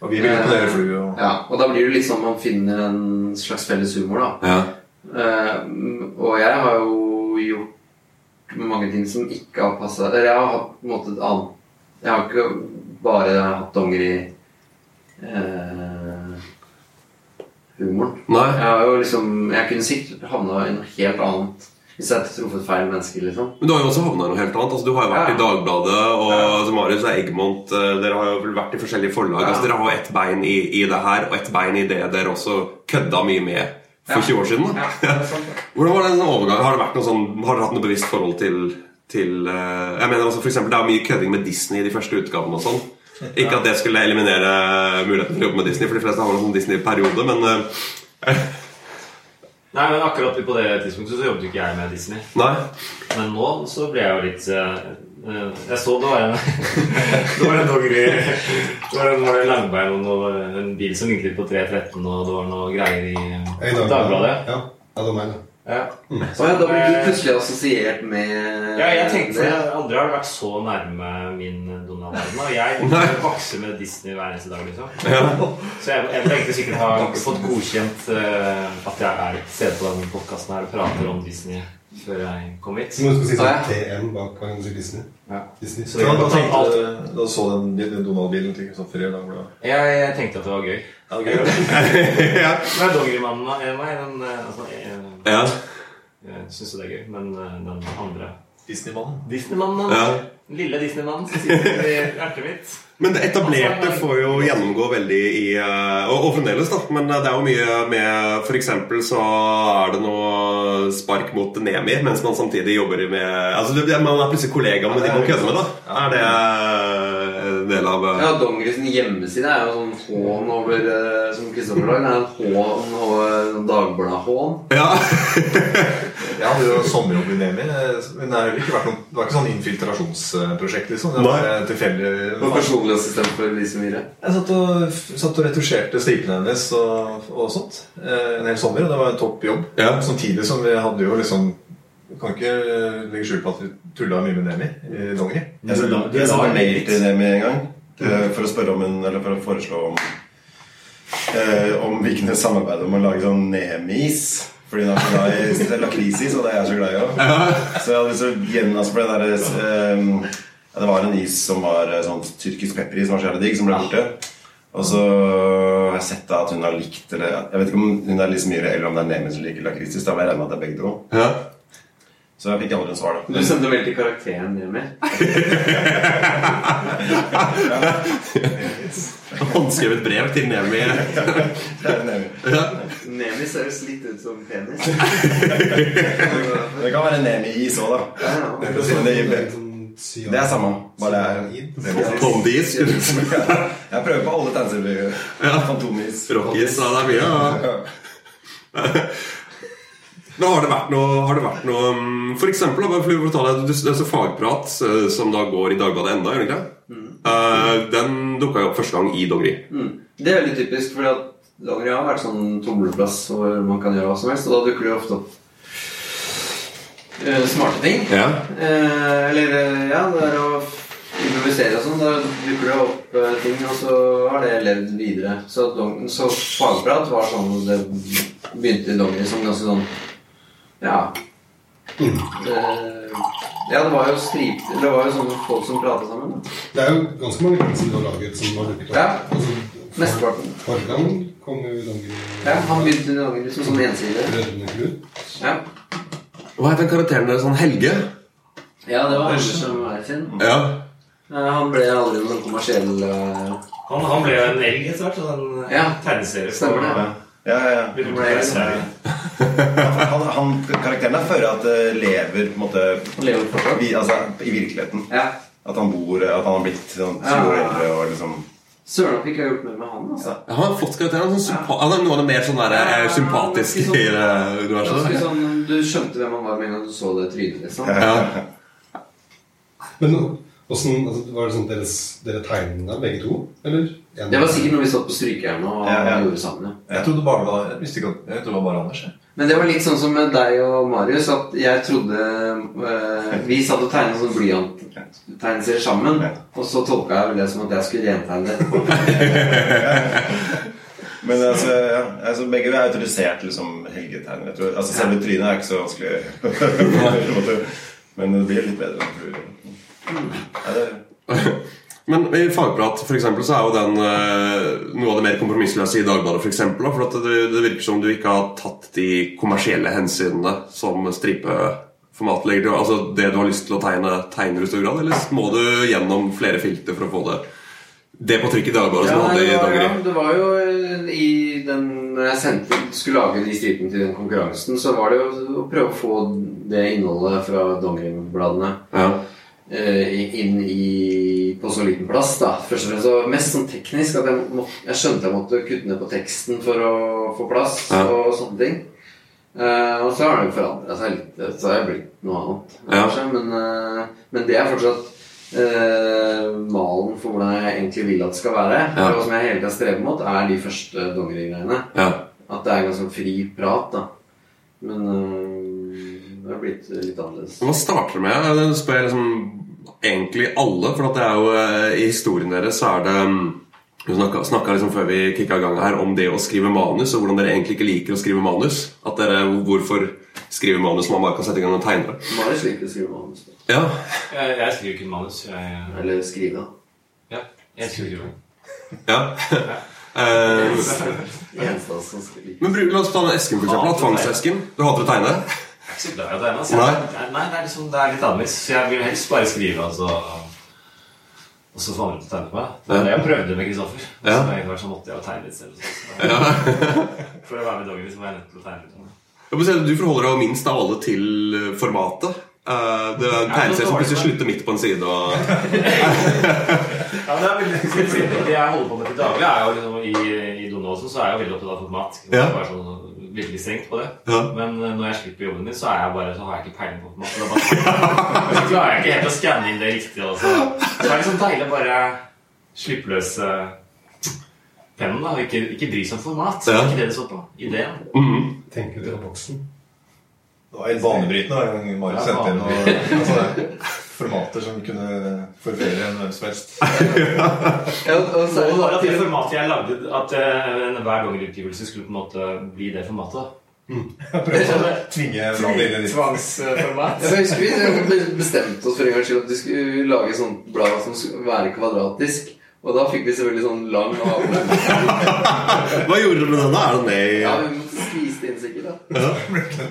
Speaker 9: Og vi ville imponere flue. Og,
Speaker 3: ja, Og da blir det liksom man finner en slags felles humor, da.
Speaker 2: Ja.
Speaker 3: Eh, og jeg har jo gjort mange ting som ikke har passa Eller jeg har hatt på en måte et annet Jeg har ikke bare hatt dongeri eh, humoren.
Speaker 2: Nei?
Speaker 3: Jeg har jo liksom Jeg kunne sikkert havna i noe helt annet hvis jeg hadde truffet feil mennesker, liksom.
Speaker 2: Men du har jo også havna i noe helt annet. Altså, du har jo vært
Speaker 3: Ja.
Speaker 2: i Dagbladet, og som Marius er Eggmont. eh, Dere har jo vel vært i forskjellige forlag.
Speaker 3: Ja.
Speaker 2: Altså, dere har jo ett bein i, i det her, og ett bein i det dere også kødda mye med for
Speaker 3: Ja.
Speaker 2: 20 år siden. Da. Hvordan var den overgangen? Har, det vært noe sånn, har dere hatt noe bevisst forhold til, til eh, Jeg mener altså, for eksempel, Det er mye kødding med Disney i de første utgavene. og sånn Ikke at det skulle eliminere muligheten til å jobbe med Disney, for de fleste har en sånn Disney-periode, men eh,
Speaker 7: Nei, men akkurat på det tidspunktet så jobbet jo ikke jeg med Disney.
Speaker 2: Nei.
Speaker 7: Men nå så ble jeg jo litt eh, eh, Jeg så det var en Det var en dongeri Det var en, var det en langbein og noe, en bil som vinklet på 3.13, og det var noe greier i
Speaker 6: Ja, Mm. i dag-
Speaker 7: Dagbladet.
Speaker 6: Ja. ja, det var meg, det.
Speaker 7: Ja.
Speaker 3: Så ja, da blir du plutselig assosiert med
Speaker 7: Eh, Ja, jeg tenkte for det Andre har vært så nærme min Donald-verden. Og jeg vokser med Disney hver eneste dag. liksom Så jeg, jeg tenkte sikkert ha fått godkjent eh, at jeg er til stede på denne podkasten her og prater om Disney før jeg kom hit.
Speaker 6: Så må du si
Speaker 3: Ja, ja.
Speaker 6: sånn TM bak hver gang du sier Disney.
Speaker 7: Ja.
Speaker 6: Disney.
Speaker 7: Så
Speaker 9: Ja,
Speaker 7: jeg,
Speaker 9: da, tenkte,
Speaker 7: alt,
Speaker 9: da så den, den Donald-bilen sånn, til Kristoffer i Dagbladet.
Speaker 7: jeg, jeg tenkte at det var gøy.
Speaker 9: Ja, det er gøy.
Speaker 2: ja.
Speaker 7: Nei, dongerimannen eh, Nei, den eh, altså, jeg,
Speaker 2: ja.
Speaker 7: jeg syns jo det er gøy, men eh, den andre
Speaker 9: Disneymannen.
Speaker 7: Disneymannen, da.
Speaker 2: Ja.
Speaker 7: Lille Disneymannen som sitter i hjertet mitt.
Speaker 2: Men det etablerte får jo gjennomgå veldig i eh, Og, og fremdeles, da. Men eh, det er jo mye med F.eks. så er det noe spark mot Nemi, mens man samtidig jobber med Altså det, Man er plutselig kollega med de man kødder med, da. Er det eh, en del av eh,
Speaker 3: Ja, Dongeri sin hjemmeside er jo sånn hån over eh, Som Kristoffer Dag. Det er en hån over sånn Dagbladet-hån.
Speaker 2: Ja.
Speaker 9: Ja, hadde jo sommerjobb i Nemi. eh, Men det, har jo ikke vært noe, det var ikke sånn infiltrasjonsprosjekt, liksom. Det var bare tilfeldig
Speaker 3: Og personlig assistent for Lise Myhre.
Speaker 9: Jeg satt og, satt og retusjerte stripene hennes og, og sånt eh, en hel sommer, og det var en topp jobb.
Speaker 2: Ja.
Speaker 9: Samtidig som vi hadde jo liksom vi Kan ikke eh, legge skjul på at vi tulla mye med Nemi i Dongeri.
Speaker 4: Jeg sendte- jeg sendte mail til Nemi en gang eh, for å spørre om hun, eller for å foreslå om eh, Om vi kunne samarbeide om å lage sånn Nemis. Fordi hun er så glad i lakrisis, og det er jeg så glad i òg. Så jeg hadde lyst til å gjen- altså, for det der, eh, ja, Det var en is som var eh, sånn tyrkisk pepperis som var så jævlig digg, som ble borte. Og så har jeg sett da at hun har likt eller, Jeg vet ikke om hun er Lise Myhre eller om det er Nemi som liker lakrisis. Da må jeg regne med at det er begge to.
Speaker 2: Ja.
Speaker 4: Så jeg fikk aldri en svar, da.
Speaker 3: Du sendte vel til karakteren hjemme?
Speaker 2: Håndskrevet brev til Nemi.
Speaker 4: Det er Nemi.
Speaker 3: Nemi høres litt ut som penis.
Speaker 4: Det kan være Nemi-is òg, da.
Speaker 3: Ja, ja.
Speaker 6: sånn-
Speaker 4: Det er, sånn- det er samme, bare det er
Speaker 2: Pondis.
Speaker 4: Jeg prøver på alle tegneserier. Fantomis.
Speaker 2: Rockis. Ja, det er mye. Ja. Men har det vært noe, har det vært noe mm, For eksempel, da, bare for å ta det, det er så fagprat eh, som da går i Dagbladet ennå, gjør det ikke det? Eh, den dukka jo opp første gang i Dongeri.
Speaker 3: Mm. Det er veldig typisk, fordi at Dongeri har vært sånn tumleplass hvor man kan gjøre hva som helst, og da dukker det jo ofte opp eh, smarte ting.
Speaker 2: Ja.
Speaker 3: Eh, eller eh, ja, det er å improvisere og sånn. Da dukker det opp eh, ting, og så har det levd videre. Så, dong- så fagprat var sånn Det begynte i Dongeri som ganske sånn Ja.
Speaker 6: Mm.
Speaker 3: Eh, ja, det var jo strip... Det var jo sånne folk som pratet sammen. Da.
Speaker 6: Det er jo ganske mange ting som du har laget som har dukket opp.
Speaker 3: Ja.
Speaker 6: Altså, for,
Speaker 3: Mesteparten.
Speaker 6: forrige gang kom jo Dongeri
Speaker 3: Ja, han begynte i Dongeri som sånn ensidig.
Speaker 6: Brødrene Knut.
Speaker 3: Ja.
Speaker 2: Hva het den karakteren deres? Sånn Helge?
Speaker 3: ja, det var Anders som var sin.
Speaker 2: Ja.
Speaker 3: Han ble aldri noen kommersiell eh,
Speaker 7: Han, han ble jo en elg etter hvert. så En eh,
Speaker 3: Ja.
Speaker 7: tegneserie. på-
Speaker 3: Stemmer det.
Speaker 4: Ja, ja, ja.
Speaker 7: Begynte å
Speaker 3: Ble
Speaker 7: bli
Speaker 3: elg.
Speaker 7: serie.
Speaker 4: Han, han, karakteren der føler jeg at det lever på en måte
Speaker 3: Han lever fortsatt.
Speaker 4: vi, altså, i virkeligheten.
Speaker 3: Ja.
Speaker 4: At han bor At han har blitt sånn 20 år eldre og liksom
Speaker 3: Søren at vi ikke har gjort mer med han, altså.
Speaker 2: Jeg har fått karakteren sånn sympa han er noe av det mer sånn der, eh, sympatiske i eh, universet.
Speaker 3: Ganske sånn, Du skjønte hvem han var med en gang du så det trynet, liksom.
Speaker 2: Ja.
Speaker 6: Men hvordan, altså, var det sånn at deres, dere tegnet deg begge to? Eller? En-
Speaker 3: Det var sikkert når vi satt på strykejernet og
Speaker 4: Ja, ja.
Speaker 3: gjorde sammen. Ja.
Speaker 9: Jeg trodde bare det var, jeg visste ikke, at- jeg trodde det var bare Anders. Jeg.
Speaker 3: Men det var litt sånn som med deg og Marius, at jeg trodde eh, Vi satt og tegnet sånn blyanttegneserier sammen, og så tolka jeg vel det som at jeg skulle rentegne det.
Speaker 4: Men altså, ja, altså begge er autorisert liksom, helgetegnere. jeg tror. Altså, selve trynet er ikke så vanskelig. på en måte. Men det blir litt bedre. tror jeg. Ja, det,
Speaker 2: Men i fagprat for eksempel, så er jo den eh, noe av det mer kompromissløse i Dagbladet. For, eksempel, da, for at det, det virker som du ikke har tatt de kommersielle hensynene som stripeformat legger til. Altså Det du har lyst til å tegne, tegner du i stor grad, eller må du gjennom flere filter for å få det Det på trykk i Dagbladet?
Speaker 3: Ja,
Speaker 2: som du hadde
Speaker 3: det
Speaker 2: i
Speaker 3: var, ja,
Speaker 2: Dongeri?
Speaker 3: det var jo eh, i den Når jeg sendte, skulle lage de stripene til den konkurransen, så var det jo å prøve å få det innholdet fra dongeribladene
Speaker 2: Ja.
Speaker 3: eh, inn i, på så liten plass. da Først og fremst så Mest sånn teknisk at jeg, må, jeg skjønte jeg måtte kutte ned på teksten for å få plass
Speaker 2: Ja.
Speaker 3: og sånne ting. Eh, og så har det jo forandra seg litt. eh, Så har jeg blitt noe annet.
Speaker 2: Ja.
Speaker 3: kanskje, Men, eh, men det er fortsatt eh, malen for hvordan jeg egentlig vil at det skal være.
Speaker 2: Ja.
Speaker 3: Og som jeg hele tiden strever mot, er de første dongerigreiene.
Speaker 2: Ja.
Speaker 3: At det er ganske sånn fri prat, da. Men eh, det har blitt litt annerledes.
Speaker 2: Men Hva starter det med? Det spør jeg liksom egentlig alle. For at det er jo eh, i historien deres så er det mm, Du snakka snakka liksom før vi kicka i gang her om det å skrive manus, og hvordan dere egentlig ikke liker å skrive manus. At dere, Hvorfor skrive manus når man bare kan sette i gang og tegne det?
Speaker 3: Marius liker å skrive manus. da.
Speaker 2: Ja,
Speaker 7: Jeg, jeg skriver ikke manus. Jeg,
Speaker 3: Eller skrive, da.
Speaker 7: ja, jeg skriver ikke manus.
Speaker 2: ja. Eh,
Speaker 3: Eneste av oss som skriver.
Speaker 2: Men bru- La oss ta den esken, for eksempel. da. Tvangsesken. Du hater å tegne?
Speaker 7: Jeg er ikke så glad i å tegne. Altså.
Speaker 2: Nei.
Speaker 7: Nei. Nei, det er, liksom, det er litt annerledes. Så jeg vil helst bare skrive, altså. Og så få andre til å tegne på meg. Det var det jeg prøvde med Kristoffer. Og
Speaker 2: Ja.
Speaker 7: så etter hvert så måtte jeg jo tegne litt selv. og sånn. Så For å være med Doggy så var jeg nødt til å tegne litt.
Speaker 2: Jeg må si at Du forholder deg jo minst av alle til eh, formatet. Eh, det er en tegneserie som plutselig slutter midt på en side. og...
Speaker 7: Ja, men det er veldig spesielt. Det jeg holder på med til daglig, er jo liksom i, i Donaldsen så er jeg jo veldig opptatt av format. Det er
Speaker 2: Ja.
Speaker 7: bare sånn, bitte litt strengt på det.
Speaker 2: Ja.
Speaker 7: Men eh, når jeg slipper jobben min, så, er jeg bare, så har jeg ikke peiling på masse. Og så klarer jeg ikke helt å skanne inn det riktig. Også. Så det er liksom deilig å bare slippe løs eh, pennen. da, og Ikke, ikke bry seg om format. Det
Speaker 2: Ja.
Speaker 7: er ikke det det står på. Ideen.
Speaker 6: Tenker du på boksen?
Speaker 9: Det var helt banebrytende hver gang Marius
Speaker 7: Ja,
Speaker 9: sendte inn noen altså, formater som kunne forvirre hvem som helst.
Speaker 3: Ja, og så
Speaker 7: Så
Speaker 3: er
Speaker 7: det var at det
Speaker 3: det
Speaker 7: formatet jeg lagde, at eh, hver gang utgivelse skulle på en måte bli det formatet. da.
Speaker 9: Jeg prøvde å tvinge bladet inn i ditt.
Speaker 3: Tvangsformat. Jeg husker vi eh, bestemte oss for en gangs skyld at vi skulle lage sånt blad som skulle være kvadratisk. Og da fikk vi selvfølgelig sånn lang avløp.
Speaker 2: Hva gjorde dere med denne? Er den med i
Speaker 3: Ja, vi måtte skvise det inn sikkert, da.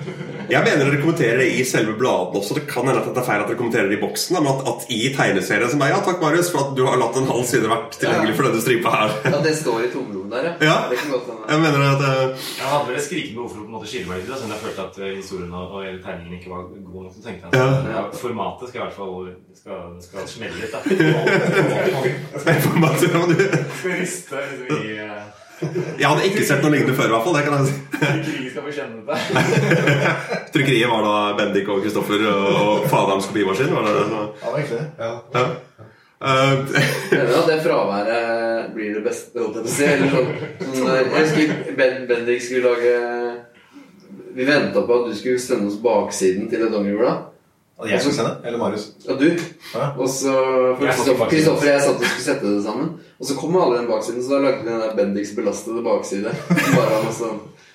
Speaker 2: Jeg mener dere kommenterer det i selve bladene også. Det kan hende at det er feil at dere kommenterer det i boksen. da, Men at, at i tegneserien som er Ja, takk, Marius, for at du har latt en halv side vært tilgjengelig for denne stripa her.
Speaker 3: Ja, det står i tomrommet der,
Speaker 2: Ja.
Speaker 3: Det kan godt hende.
Speaker 2: Jeg mener at eh,
Speaker 7: Jeg hadde vel et skrikende behov for å på en måte skille meg ut. da, Siden jeg følte at eh, historien og, og hele tegningen ikke var god nok. Så tenkte jeg at ja, formatet skal i hvert fall det skal, det skal smelle litt. da.
Speaker 2: jeg får bare si om du-
Speaker 7: Skal riste liksom, i eh,
Speaker 2: Jeg hadde ikke sett noe lignende før, i hvert fall. Det kan jeg si.
Speaker 7: i krigen skal vi kjenne dette.
Speaker 2: Trykkeriet var da Bendik og Kristoffer og Fadams kopimaskin. Var det det? som var-
Speaker 9: Ja, det var egentlig det.
Speaker 6: Ja.
Speaker 2: Ja. Eh,
Speaker 3: Mener du at det fraværet blir det beste? holdt jeg på å si, Eller sånn, sånn der- jeg husker ben, Bendik skulle lage Vi venta på at du skulle sende oss baksiden til et dongeriblad.
Speaker 9: Ja, Jeg skulle sende. Eller Marius.
Speaker 3: Ja, du.
Speaker 9: Hæ?
Speaker 3: Og så for
Speaker 7: Jeg satt i
Speaker 3: Kristoffer
Speaker 7: baksiden.
Speaker 3: Kristoffer og jeg satt og skulle sette det sammen. Og så kom alle den baksiden, så da lagde vi den der Bendiks belastede bakside. Bare han også.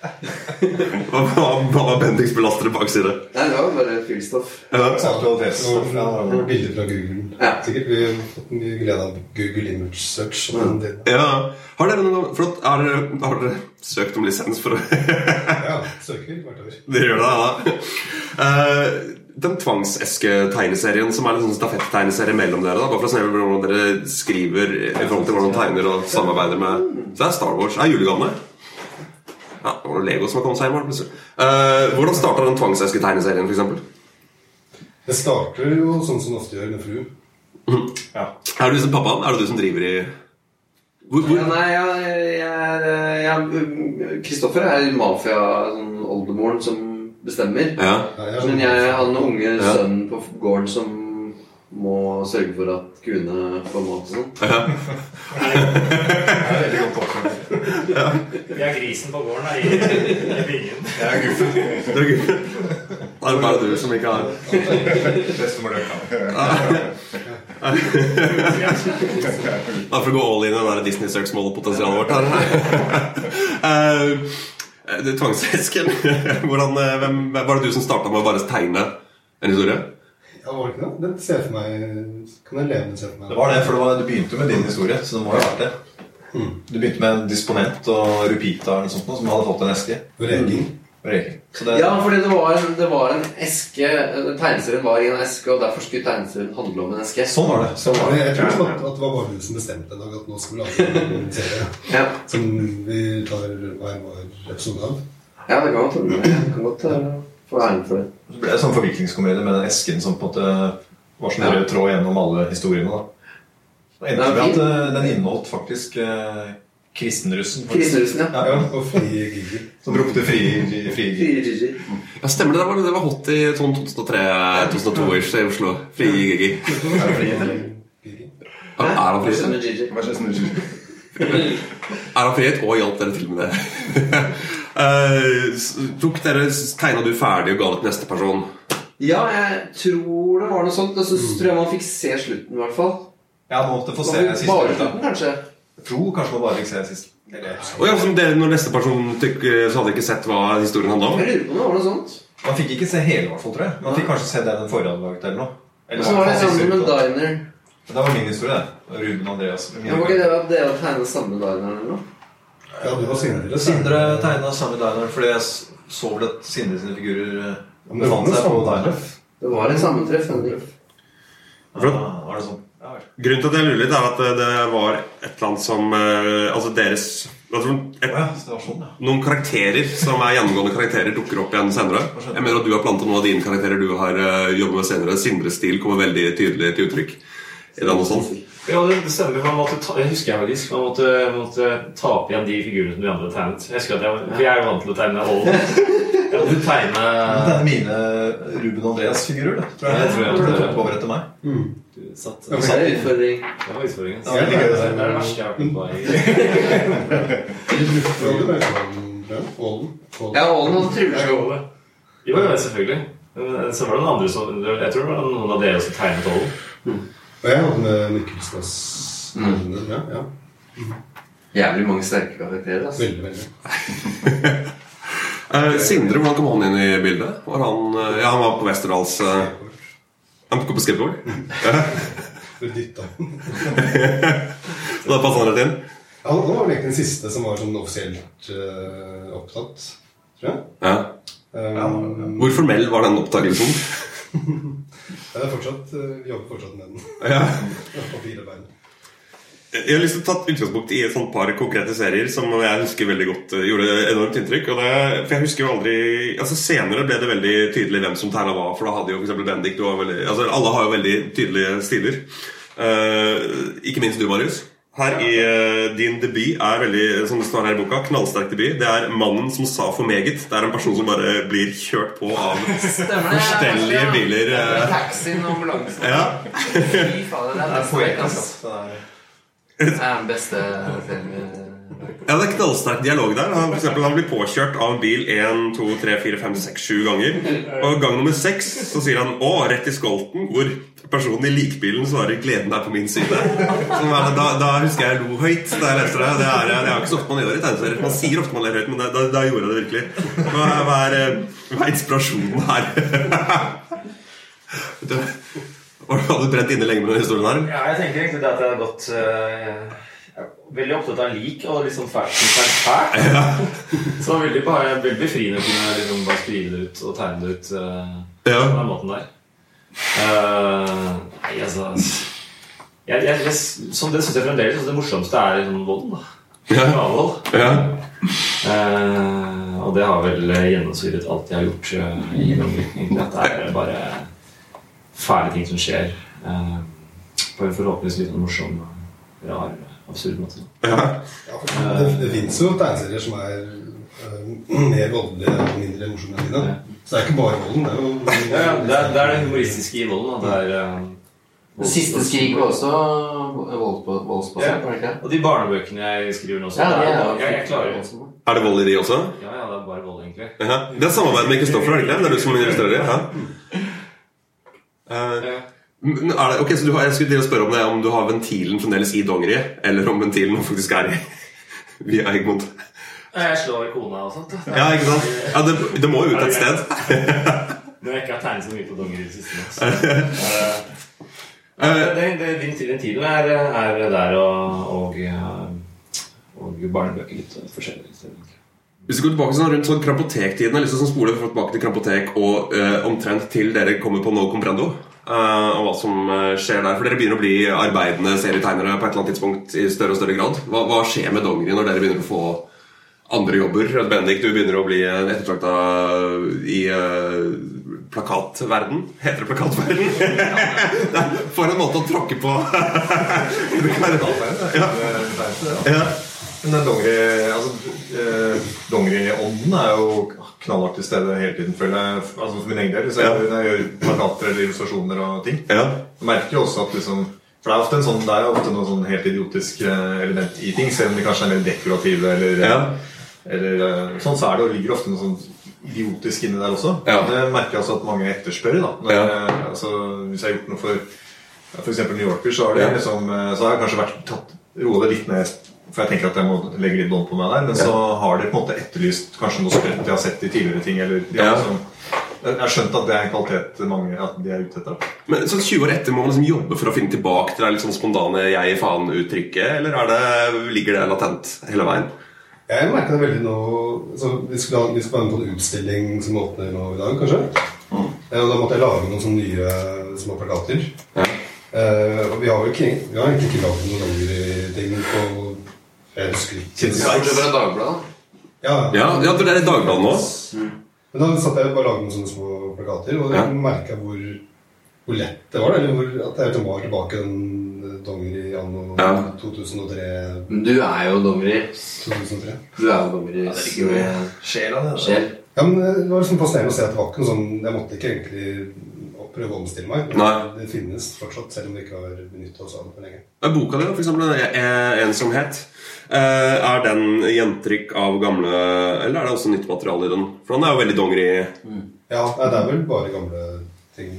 Speaker 2: Hva hva- hva var Bendiks belastede bakside?
Speaker 3: Nei, det var bare fyllstoff.
Speaker 2: Ja.
Speaker 9: Sa kvalitetsstoff.
Speaker 6: Det var
Speaker 9: Ja,
Speaker 6: bilder fra Google.
Speaker 3: Ja.
Speaker 6: Sikkert vi har fått mye glede av Google Image Search. Og
Speaker 3: Mm.
Speaker 6: den delen.
Speaker 2: Ja. Har dere noe Flott. Har dere, har dere søkt om lisens for å
Speaker 6: Ja, søker hvert år.
Speaker 2: Det gjør det, ja. Eh, den tvangseske-tegneserien som er en sånn stafett-tegneserie mellom dere, da, bare for å se hvordan dere skriver i forhold til hvordan dere tegner og samarbeider med Så det er Star Wars. Er julegavene. Ja, det var Lego som har kommet seg hjem. var det plutselig. Eh, hvordan starta den tvangseske-tegneserien, f.eks.?
Speaker 6: Det starter jo sånn som det ofte gjør med fru.
Speaker 2: Er det du som pappaen? Er det du som driver i hvor,
Speaker 3: Ja,
Speaker 2: hvor?
Speaker 3: nei, jeg, jeg er eh, jeg- Kristoffer er mafia, sånn oldemoren som bestemmer.
Speaker 2: Ja.
Speaker 6: Ja, jeg sånn- er
Speaker 3: Men jeg har den unge
Speaker 2: Ja.
Speaker 3: sønnen på gården som må sørge for at kuene får mat og sånn.
Speaker 9: det er veldig godt oppført.
Speaker 7: Vi har grisen på gården her i, i bingen.
Speaker 9: Jeg er guffen.
Speaker 2: Det er gøy. Da er det bare du som ikke har
Speaker 9: Bestemor Løkka.
Speaker 2: Da får vi gå all in i det der Disney-søksmålpotensialet vårt her. Eh, det Tvangsesken. Hvordan, eh, hvem, hvem var det du som starta med å bare tegne en historie?
Speaker 6: Ja, var det ikke det? Den ser jeg for meg Kan jeg levende se for meg?
Speaker 9: Det var det, for det var, du begynte jo med din historie, så det må jo ha vært det.
Speaker 3: Mm.
Speaker 9: Du begynte med en disponent og Rupita eller noe sånt, noe, som hadde fått en eske.
Speaker 3: Mm.
Speaker 6: Vreging.
Speaker 9: og reker. Så det,
Speaker 3: Ja, fordi det var, det var en eske eh, Tegneserien var i en eske, og derfor skulle tegneserien handle om en eske.
Speaker 9: Sånn var det. Sånn var det.
Speaker 6: Jeg tror ikke at, at det var bare du som bestemte en dag at nå skal vi lage en serie
Speaker 3: Ja,
Speaker 6: som vi tar hver vår episode av.
Speaker 3: ja det kan godt hende. Jeg kan godt eh, få æren for det.
Speaker 9: Så ble det en sånn forviklingskomedie med den esken som på en måte var sånn rød tråd gjennom alle historiene. da. Og
Speaker 3: Det
Speaker 9: endte
Speaker 3: er
Speaker 9: med at
Speaker 3: fint.
Speaker 9: eh, den inneholdt faktisk eh, kristenrussen. faktisk.
Speaker 3: Kristenrussen, ja.
Speaker 9: ja, ja.
Speaker 6: Og fri gigger.
Speaker 9: Som ropte fri, fri, fri.
Speaker 3: Fire Gigi.
Speaker 2: Ja, Stemmer det, det var, det var hot i sånn 2003-2002-ish i Oslo. Frigigi.
Speaker 4: Er det frihet, eller?
Speaker 6: Gigger.
Speaker 2: Er han
Speaker 3: Hva skjedde
Speaker 2: frihet?
Speaker 3: med Gigi?
Speaker 4: Hva slags snusjer?
Speaker 2: Er han frihet? Og hjalp dere til med det? Eh, s- tok dere Tegna du ferdig og ga det til neste person?
Speaker 3: Ja, jeg tror det var noe sånt. Og så tror jeg man fikk se slutten, i hvert fall.
Speaker 9: Ja, nå måtte få se
Speaker 3: Man fikk
Speaker 9: siste
Speaker 3: Bare
Speaker 9: ut, da.
Speaker 3: slutten, kanskje.
Speaker 9: Jeg tror kanskje man bare fikk se sist. Eller jeg husker
Speaker 2: Og ja, som dere, Når neste person tykk, så hadde dere ikke sett hva historien handla om?
Speaker 3: Jeg lurer på om det var noe sånt.
Speaker 9: ikke. Man fikk ikke se hele, i hvert fall, tror jeg. Man fikk kanskje se det den forrige hadde laget, eller noe.
Speaker 3: Og
Speaker 9: Eller
Speaker 3: så var det sånn
Speaker 9: siste
Speaker 3: sammen med
Speaker 9: ut, da.
Speaker 3: diner.
Speaker 9: Det var min historie, det. Ruben Andreas. Min
Speaker 3: Ja, var ikke det at dere hadde tegnet samme diner eller noe?
Speaker 6: Ja, det var Sindre.
Speaker 9: Sindre tegna samme diner fordi jeg s- så vel at Sindre sine figurer eh,
Speaker 6: Men det var
Speaker 9: befant
Speaker 6: noe
Speaker 9: seg på
Speaker 6: samme
Speaker 9: diner.
Speaker 3: Det var et sammentreff. Henrik.
Speaker 2: For at-
Speaker 9: Ah, var det sånn? Ja, vel.
Speaker 2: Grunnen til at jeg lurer litt, er at eh, det- det var et eller annet som eh, Altså deres altså, et,
Speaker 9: Å ja, så det var sånn, ja.
Speaker 2: Noen karakterer som er gjennomgående karakterer, dukker opp igjen senere. Jeg mener at du har plantet noen av dine karakterer du har eh, jobbet med senere. Sindres stil kommer veldig tydelig til uttrykk. I den og sånn.
Speaker 7: Ja, det, det stemmer. Man måtte ta, jeg husker jeg faktisk Man måtte, måtte ta opp igjen de figurene som de andre tegnet. Jeg husker at jeg, for jeg er jo vant til å tegne Holden. Jeg måtte tegne
Speaker 9: Det er mine Ruben Andreas-figurer. det, Tror jeg.
Speaker 7: Jeg tror jeg-
Speaker 9: jeg tror du tok over etter meg.
Speaker 7: satt,
Speaker 6: Ja,
Speaker 7: Det
Speaker 6: men-
Speaker 3: Det er en utfordring.
Speaker 7: var utfordringen.
Speaker 9: Ja, jeg
Speaker 7: det
Speaker 9: liker
Speaker 7: er
Speaker 9: det.
Speaker 7: det verste jeg har vært med på. i-
Speaker 6: Vi brukte jo det mellom Ålen. Ålen.
Speaker 3: Ja, Ålen hadde
Speaker 7: Jo,
Speaker 3: trylleslå.
Speaker 7: jo, jo, selvfølgelig. Men så var det den andre som Jeg tror det var noen av dere som tegnet Holden.
Speaker 6: Og jeg hadde med Mikkelsnes.
Speaker 7: Mm.
Speaker 6: Ja, ja.
Speaker 3: Jævlig mange sterke karakterer. Altså.
Speaker 6: Veldig, veldig.
Speaker 2: Eh, Sindre, hvordan kom han inn i bildet? Var han, eh, ja, han var på Westerdals eh, Han kom på skateboard?
Speaker 6: Ble dytta inn.
Speaker 2: Så da passet han rett inn?
Speaker 6: Han, han var vel egentlig den siste som var sånn offisielt eh, opptatt, tror jeg.
Speaker 2: Ja.
Speaker 6: Um,
Speaker 2: Hvor formell var den opptakelsen?
Speaker 6: Jeg er fortsatt, eh, vi jobber fortsatt med den. Papirarbeid.
Speaker 2: Jeg har lyst til å ta utgangspunkt i et sånt par konkrete serier som jeg husker veldig godt eh, gjorde enormt inntrykk. Og det, for jeg husker jo aldri Altså Senere ble det veldig tydelig hvem som tegna hva. For da hadde jo for eksempel Bendik du var veldig, altså Alle har jo veldig tydelige stiler. Eh, ikke minst du, Marius. Her i eh, Din debut er veldig som det står her i boka, knallsterk debut. Det er 'Mannen som sa for meget'. Det er en person som bare blir kjørt på av
Speaker 3: Stemmer det.
Speaker 2: forstellige biler. eh.
Speaker 3: Taxien og ambulansen.
Speaker 2: Ja,
Speaker 3: Fy fader, det er beste
Speaker 9: Poet,
Speaker 3: serien, altså.
Speaker 9: altså. Det er-
Speaker 3: Det er den beste serien.
Speaker 2: Ja, det er knallsterk dialog der. Han, for eksempel, han blir påkjørt av en bil 1, 2, 3, 4, 5, 6, 7 ganger. Og gang nummer 6 så sier han 'Å, rett i skolten', hvor personen i likbilen svarer 'Gleden er på min side'. Som er, da, da husker jeg jeg lo høyt da jeg leste det. Det er, det er ikke så ofte man gjør i tegneserier. Man sier ofte man ler høyt, men da, da, da gjorde jeg det virkelig. Hva, er- hva, er, eh, hva er inspirasjonen her? Vet du, Har du brent inne lenge med denne historien her?
Speaker 7: Ja, jeg tenker egentlig det at jeg har gått eh, jeg er Veldig opptatt av lik og liksom fashion fælt. Så det var veldig, bare, veldig befriende å kunne liksom bare skrive det ut og tegne det ut eh,
Speaker 2: Ja.
Speaker 7: på den måten der. Eh, nei, altså jeg, jeg, jeg, som Det syns jeg fremdeles altså, det morsomste er liksom volden. da. Gravvold.
Speaker 2: Ja.
Speaker 7: Eh, og det har vel gjennomsyret alt jeg har gjort eh, i Norge. egentlig. At det er bare fæle ting som skjer. eh, på en forhåpentligvis litt morsom, rar, absurd måte.
Speaker 6: Ja, for det, det fins jo tegneserier som er eh, mer voldelige og mindre morsomme enn dine. Så det er ikke bare volden. Det er jo
Speaker 7: Ja, ja, det, er, det er det humoristiske i volden. da. Det er, eh,
Speaker 3: Det siste skrik var også voldsbasert,
Speaker 7: Ja.
Speaker 3: var det ikke det?
Speaker 7: Og de barnebøkene jeg skriver nå, så
Speaker 3: Ja, det
Speaker 7: det er,
Speaker 3: er
Speaker 7: jeg, jeg klarer jo
Speaker 2: Er det vold i de også?
Speaker 7: Ja, ja, det er bare vold, egentlig.
Speaker 2: Ja. Det er samarbeid med Kristoffer, er det ikke det? Det er du som illustrerer? Ja. Eh,
Speaker 7: Ja.
Speaker 2: men er det, ok, så du har, Jeg skulle til å spørre om det Om du har ventilen fremdeles i dongeriet, eller om ventilen faktisk er i via Egmont.
Speaker 7: Jeg slår kona og sånt. da.
Speaker 2: Ja, ikke sant? Ja, det, det må jo ut et sted.
Speaker 7: Når jeg ikke har tegnet så mye på donger i det siste. nå, så eh, er det- Ja,
Speaker 2: Eh,
Speaker 7: det, det, den, den tiden er, er der og, og, eh, og barnebøker litt forskjellige steder.
Speaker 2: hvis vi går tilbake sånn rundt sånn krampotektiden, jeg har lyst til å sånn spole tilbake til krampotek og eh, omtrent til dere kommer på No Comprendo. eh, og hva som eh, skjer der. For dere begynner å bli arbeidende serietegnere på et eller annet tidspunkt i større og større grad. Hva, hva skjer med dongeri når dere begynner å få andre jobber. At Bendik, du begynner å bli ettertrakta i eh, plakatverden. Heter det plakatverden? Det er For en måte å tråkke på. Det kan være-
Speaker 9: Ja. Men den dongeri- altså, eh, dongeriånden er jo knallhardt til stede hele tiden, føler jeg. Altså For min egen del. Så jeg, når jeg gjør plakater eller illustrasjoner og ting.
Speaker 2: ja.
Speaker 9: Jeg merker jo også at liksom For det er ofte en sånn, det er jo ofte noe sånn helt idiotisk eh, element i ting, selv om de kanskje er mer dekorative eller, eh,
Speaker 2: Ja.
Speaker 9: eller eh, sånn, så er det og ligger ofte noe sånn idiotisk inni der også.
Speaker 2: Ja.
Speaker 9: Det merker jeg også at mange etterspør. da når,
Speaker 2: Ja.
Speaker 9: eh, altså, Hvis jeg har gjort noe for ja, for eksempel New Yorker, så har, det
Speaker 2: Ja.
Speaker 9: liksom, eh, så har jeg kanskje vært tatt roet det litt ned. For jeg tenker at jeg må legge litt bånd på meg der. Men så har de på en måte etterlyst kanskje noe sprøtt de har sett i tidligere ting. Eller de har
Speaker 2: Ja.
Speaker 9: liksom, jeg har skjønt at det er en kvalitet mange at de er ute etter. da.
Speaker 2: Men så 20 år etter må man liksom jobbe for å finne tilbake til det litt sånn spontane 'jeg faen'-uttrykket? Eller er det, ligger det latent hele veien?
Speaker 6: Jeg merka det veldig nå så vi, skulle ha, vi skal være med på en sånn utstilling som åpner nå i dag, kanskje.
Speaker 2: Mm.
Speaker 6: Eh, Og da måtte jeg lage noen sånne nye små plakater. Eh, og vi har jo ikke, vi har egentlig ikke lagd noen dongeriting på Jeg husker ikke.
Speaker 3: Bortsett fra Dagbladet.
Speaker 6: Ja, ja.
Speaker 2: Ja, ja for det er i Dagbladet nå.
Speaker 6: Men da satt jeg og bare lagde noen sånne små plakater, og
Speaker 2: Ja.
Speaker 6: jeg merket merka hvor, hvor lett det var. da, Eller hvor, at jeg liksom var tilbake i den dongeri anno
Speaker 2: Ja.
Speaker 6: 2003.
Speaker 3: Men du er jo dongeri.
Speaker 6: 2003.
Speaker 3: Du er jo dongeri.
Speaker 4: det ligger jo
Speaker 3: så-
Speaker 4: i sjela, det. da.
Speaker 3: Sjel.
Speaker 6: Ja, men Det var liksom fascinerende å se at det var ikke noe sånn Jeg måtte ikke egentlig opp- prøve å omstille meg. men
Speaker 2: Nei.
Speaker 6: Det finnes fortsatt, selv om vi ikke har benyttet oss av det for lenge.
Speaker 2: Men Boka di, for eksempel, den er ensomhet. Eh, Er den gjentrykk av gamle Eller er det også nytt materiale i den? For den er jo veldig dongeri.
Speaker 6: Ja, nei, det er vel bare gamle ting,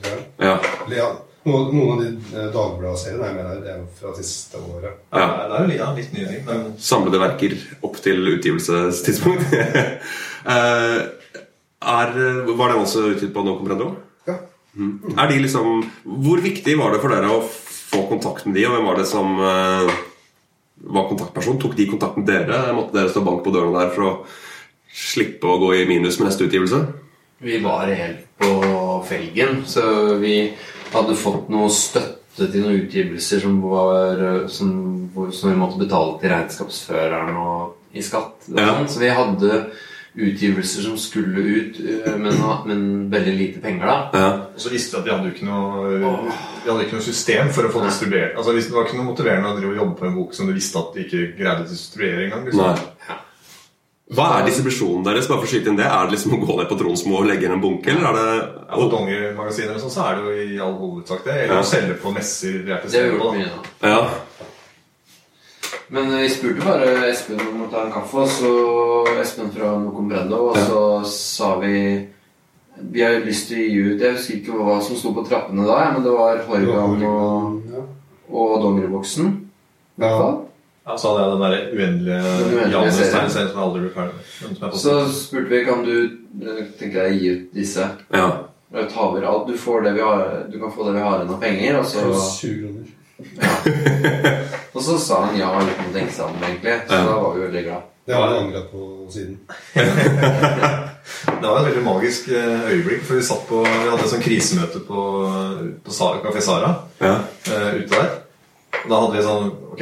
Speaker 6: tror jeg.
Speaker 2: Ja.
Speaker 6: Eller, ja, noen, noen av de eh, Dagbladet-seriene er med der. Det er jo fra siste året.
Speaker 2: Ja.
Speaker 9: Ja, det er jo litt- ja, litt nyere, men
Speaker 2: Samlede verker opp til utgivelsestidspunkt. Eh, er, var den også utgitt på No Comprendo?
Speaker 6: Ja.
Speaker 2: Mm. Er de liksom, hvor viktig var det for dere å få kontakt med de, og hvem var det som eh, var kontaktperson? Tok de kontakt med dere? Måtte dere stå bank på døren der for å slippe å gå i minus med neste utgivelse?
Speaker 3: Vi var helt på felgen, så vi hadde fått noe støtte til noen utgivelser som var eh, som, hvor- som vi måtte betale til regnskapsføreren og i skatt. Og
Speaker 2: Ja.
Speaker 3: sånn. Så vi hadde utgivelser som skulle ut, eh, men, men veldig lite penger da.
Speaker 2: Ja.
Speaker 9: Og så visste vi at vi hadde jo ikke noe, vi hadde ikke noe system for å få distribuert. Altså, hvis- det var ikke noe motiverende å drive og jobbe på en bok som du visste at de ikke greide å distribuere engang.
Speaker 2: Nei.
Speaker 9: Liksom.
Speaker 2: Hva er distribusjonen deres? Bare for å skyte inn det Er det liksom å gå ned på Tronsmo og legge inn en bunke? Eller er det
Speaker 9: Ja, på dongermagasiner og sånn, så er det jo i all hovedsak det. Eller
Speaker 2: Ja.
Speaker 9: å selge på messer. vi er til
Speaker 3: Det har vi
Speaker 9: stede
Speaker 3: gjort
Speaker 9: på, da.
Speaker 3: mye da.
Speaker 2: Ja.
Speaker 3: Men vi spurte bare Espen om å ta en kaffe, og så Espen fra Nocombrello, og så sa vi Vi har lyst til å gi ut Jeg husker ikke hva som sto på trappene da, men det var Horgan og,
Speaker 6: ja.
Speaker 3: og Dongeriboksen. i hvert
Speaker 6: Ja.
Speaker 3: fall.
Speaker 9: Ja, så hadde jeg den der
Speaker 3: Den
Speaker 9: uendelige
Speaker 3: uendelige
Speaker 9: Janus-serien som jeg aldri ble ferdig med. Den som jeg
Speaker 3: Så
Speaker 9: postet.
Speaker 3: spurte vi kan du eh, tenker deg å gi ut disse.
Speaker 2: ja.
Speaker 3: Og Jeg tar over alt. Du, får det vi har, du kan få det vi har igjen av penger. Og så,
Speaker 6: 20 kroner.
Speaker 3: og så sa han ja uten å tenke seg om, egentlig. Så
Speaker 2: Ja.
Speaker 3: da var vi veldig glad.
Speaker 6: Det har jeg angret på siden.
Speaker 9: Det var et veldig magisk eh, øyeblikk, for vi satt på Vi hadde et sånt krisemøte på, på Sara, Café Sara
Speaker 2: ja.
Speaker 9: eh, ute der. Og Da hadde vi sånn Ok,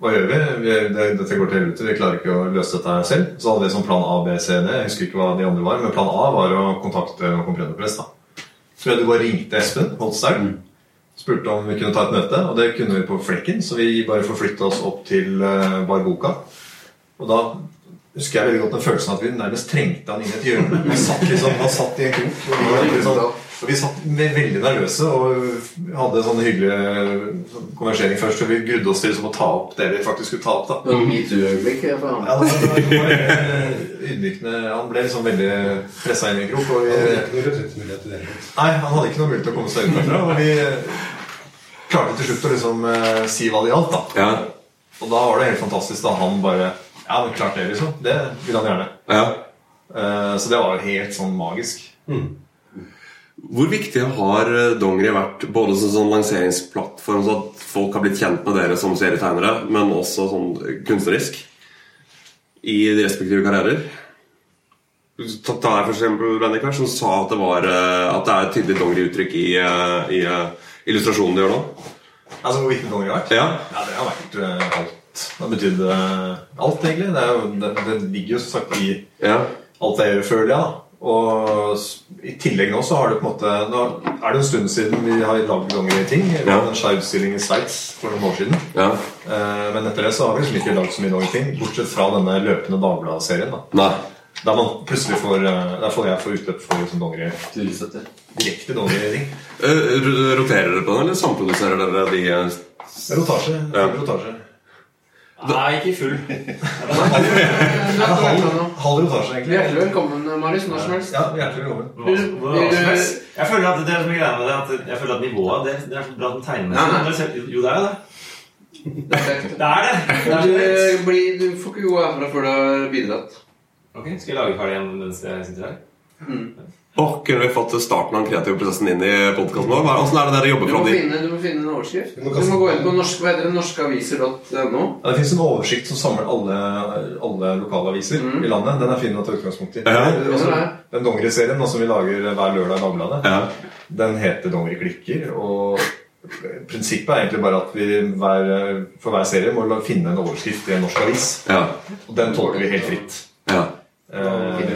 Speaker 9: hva gjør vi? vi det, dette går til helvete. Vi klarer ikke å løse dette her selv. Så hadde vi sånn plan A, B, C, D. Jeg husker ikke hva de andre var, men plan A var å kontakte Comprendo Press. da. Så du bare ringte Espen Holstern. Spurte om vi kunne ta et møte, og det kunne vi på flekken. Så vi bare forflytta oss opp til eh, Barboka. Og da husker jeg veldig godt den følelsen at vi nærmest trengte han inn i et hjørne. Han satt, liksom, han satt i en krok. Og vi, var litt sånn, og vi satt ve- veldig nervøse og hadde en sånn hyggelig sånn konversering først. Og vi grudde oss til liksom, å ta opp det vi faktisk skulle ta opp. da
Speaker 3: Det var et metoo-øyeblikk. jeg, for han.
Speaker 9: ja, det var, det var veldig ydmykende. Han ble liksom veldig pressa inn i en krok. Og
Speaker 6: Det er
Speaker 9: vi,
Speaker 6: ikke noen retrettmulighet i det hele tatt.
Speaker 9: Nei, han hadde ikke noe mulighet til å komme seg ut derfra. Og vi eh, klarte til slutt å liksom eh, si hva det gjaldt, da.
Speaker 2: ja.
Speaker 9: Og da var det helt fantastisk da han bare Ja, men klart det, liksom. Det vil han gjerne.
Speaker 2: ja.
Speaker 9: Eh, Så det var jo helt sånn magisk.
Speaker 2: Hvor viktig har eh, Dongeri vært både som sånn lanseringsplattform, så at folk har blitt kjent med dere som serietegnere, men også sånn kunstnerisk i de respektive karrierer? Ta ta her for eksempel Bendik her, som sa at det, var, eh, at det er et tydelig Dongeri-uttrykk i, eh, i eh, illustrasjonen de gjør nå.
Speaker 9: Altså, hvor viktig Donald har vært?
Speaker 2: Ja.
Speaker 9: Ja, det har vært eh, alt. Det har betydd eh, alt, egentlig. Det, er jo, det, det ligger jo som sagt i
Speaker 2: Ja.
Speaker 9: alt jeg gjør, føler jeg. da. Og s- i tillegg nå så har det på en måte Nå er det en stund siden vi har lagd dongeri-ting. Vi
Speaker 2: Ja.
Speaker 9: hadde en skjevstilling i Sveits for noen år siden.
Speaker 2: ja.
Speaker 9: Eh, Men etter det så har vi liksom ikke lagd så mye dongeri-ting, bortsett fra denne løpende Dagbladet-serien. da.
Speaker 2: Nei.
Speaker 9: Der man plutselig får, eh, der får jeg få utløp for liksom dongeri,
Speaker 3: Tullestøtte.
Speaker 9: direkte dongeri-ting.
Speaker 2: Eh, ro- Roterer dere på den, eller samproduserer dere de eh,
Speaker 9: Det er Rotasje. det er rotasje.
Speaker 7: Nei, ikke full.
Speaker 9: Halv, halv rotasje, egentlig.
Speaker 3: Hjertelig velkommen, Marius. Når som helst.
Speaker 9: Ja, hjertelig velkommen.
Speaker 7: Hva- hva- hva som helst. Jeg føler at det er som er greia med det at Jeg føler at nivået det, det er så bra at den tegner
Speaker 3: Nei, nei.
Speaker 7: Det er selv- Jo, det er jo det.
Speaker 3: Det er perfekt.
Speaker 7: Det er det. det, er det.
Speaker 3: Du, blir, du får ikke gå herfra før du har bidratt.
Speaker 7: Ok, Skal jeg lage ferdig en mens jeg sitter her?
Speaker 2: Åh, Kunne vi fått starten av den kreative prosessen inn i podkasten vår? Hva- Åssen er det dere
Speaker 3: Du
Speaker 2: jobber
Speaker 3: må,
Speaker 2: fram dit?
Speaker 3: finne, du må finne en overskrift.
Speaker 6: Du
Speaker 3: Du
Speaker 6: må
Speaker 3: må
Speaker 6: kaste-
Speaker 3: gå inn på norsk, hva heter det, norskeaviser.no.
Speaker 9: Ja, det fins en oversikt som samler alle, alle lokalaviser i landet. Den er fin å ta utgangspunkt i.
Speaker 2: Mm. Ja.
Speaker 9: Altså, den dongeriserien da, som vi lager hver lørdag i Dagbladet,
Speaker 2: Ja.
Speaker 9: den heter Dongeriklikker. Og prinsippet er egentlig bare at vi hver, for hver serie må la- finne en overskrift i en norsk avis.
Speaker 2: Ja.
Speaker 9: Og den tolker vi helt fritt.
Speaker 2: ja.
Speaker 9: Eh, Eh,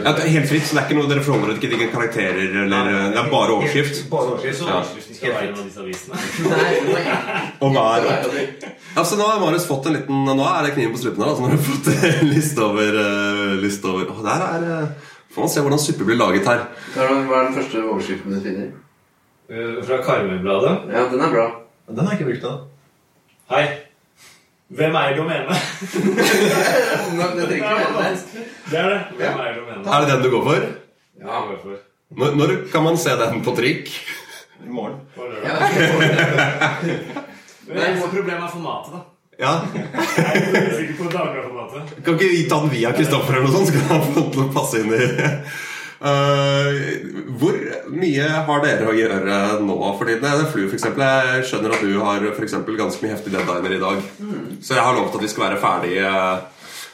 Speaker 2: Ja, det er helt fritt, så det er ikke noe dere forholder dere til ikke til karakterer eller Det er bare overskrift.
Speaker 9: Bare overskrift.
Speaker 2: Ja.
Speaker 7: Overskriften skal være i noen av disse avisene.
Speaker 2: Og hver Ja, så nå har Marius fått en liten Nå er det kniven på strupen her. Altså, nå har du fått en liste over, eh, liste over. Å, Der er eh, Får man se hvordan suppe blir laget her.
Speaker 3: Hva er hva er den første overskriften du finner?
Speaker 9: Eh, Fra Karmøybladet.
Speaker 3: Ja, den er bra.
Speaker 9: Den har jeg ikke brukt ennå.
Speaker 7: Hei. Hvem eier domenet?
Speaker 3: Den er- den trenger ikke å være der.
Speaker 7: Det er det. Hvem eier domenet?
Speaker 2: Er det den du går for?
Speaker 7: Det går jeg for.
Speaker 2: Når, når kan man se den på trykk?
Speaker 4: I morgen.
Speaker 7: På lørdag.
Speaker 3: Ja, den får den.
Speaker 7: Men problemet er formatet, da.
Speaker 2: Ja,
Speaker 7: Jeg er ikke helt sikker på dagbladformatet.
Speaker 2: Kan ikke vi ta den via Kristoffer eller noe sånt? Skal han få lov til å passe inn i Eh, Hvor mye har dere å gjøre nå for tiden? Det er Flu, for eksempel. Jeg skjønner at du har for eksempel, ganske mye heftige deadliner i dag. Så jeg har lovt at vi skal være ferdige eh,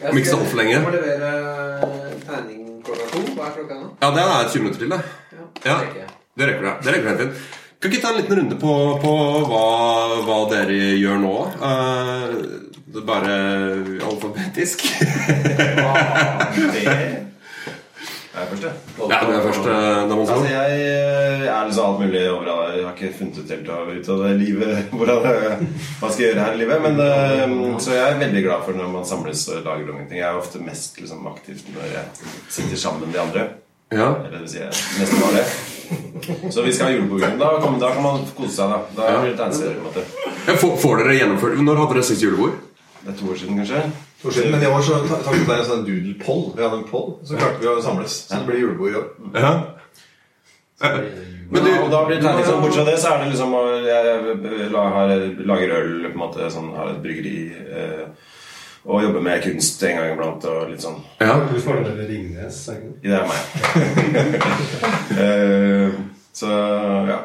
Speaker 3: Jeg
Speaker 2: om ikke så altfor lenge.
Speaker 3: må levere tegning klokka to. Hva er klokka nå?
Speaker 2: Ja, det er 20 minutter til, det. Ja,
Speaker 3: det rekker jeg.
Speaker 2: Det rekker det. Det rekker helt fint. Kan ikke ta en liten runde på, på hva, hva dere gjør nå? Eh, det er bare alfabetisk.
Speaker 4: Det er først, det.
Speaker 2: ja, det er først eh, da må man
Speaker 4: Altså, jeg eh, er liksom alt mulig overalt. Jeg har ikke funnet ut helt av, ut av det livet hvordan, eh, hva skal jeg gjøre her i livet. Men, eh, så jeg er veldig glad for når man samles og lager noen ting. Jeg er ofte mest liksom, aktiv når jeg sitter sammen med de andre.
Speaker 2: Ja.
Speaker 4: Eller det vil si, jeg nesten var det. Så vi skal ha juleprogram. Da, kan- da kan man kose seg, da. Da er det litt tegneserie, på en måte.
Speaker 2: Ja, Får, får dere gjennomført Når hadde dere sist julebord?
Speaker 4: Det er to år siden, kanskje.
Speaker 9: For siden, Men i år så ta- takket være en sånn doodle poll Vi hadde en poll, så klarte vi å samles. Så det blir julebord i år.
Speaker 2: Ja. Men du,
Speaker 4: ja, og da blir det tegning sånn, Bortsett fra det, så er det liksom å- Jeg, jeg la- har, lager øl, på en måte, sånn, har et bryggeri eh, og jobber med kunst en gang iblant. Og litt sånn.
Speaker 2: ja.
Speaker 6: Du snakker om Ringnes? er det ikke det?
Speaker 4: I det er meg. Eh, så ja.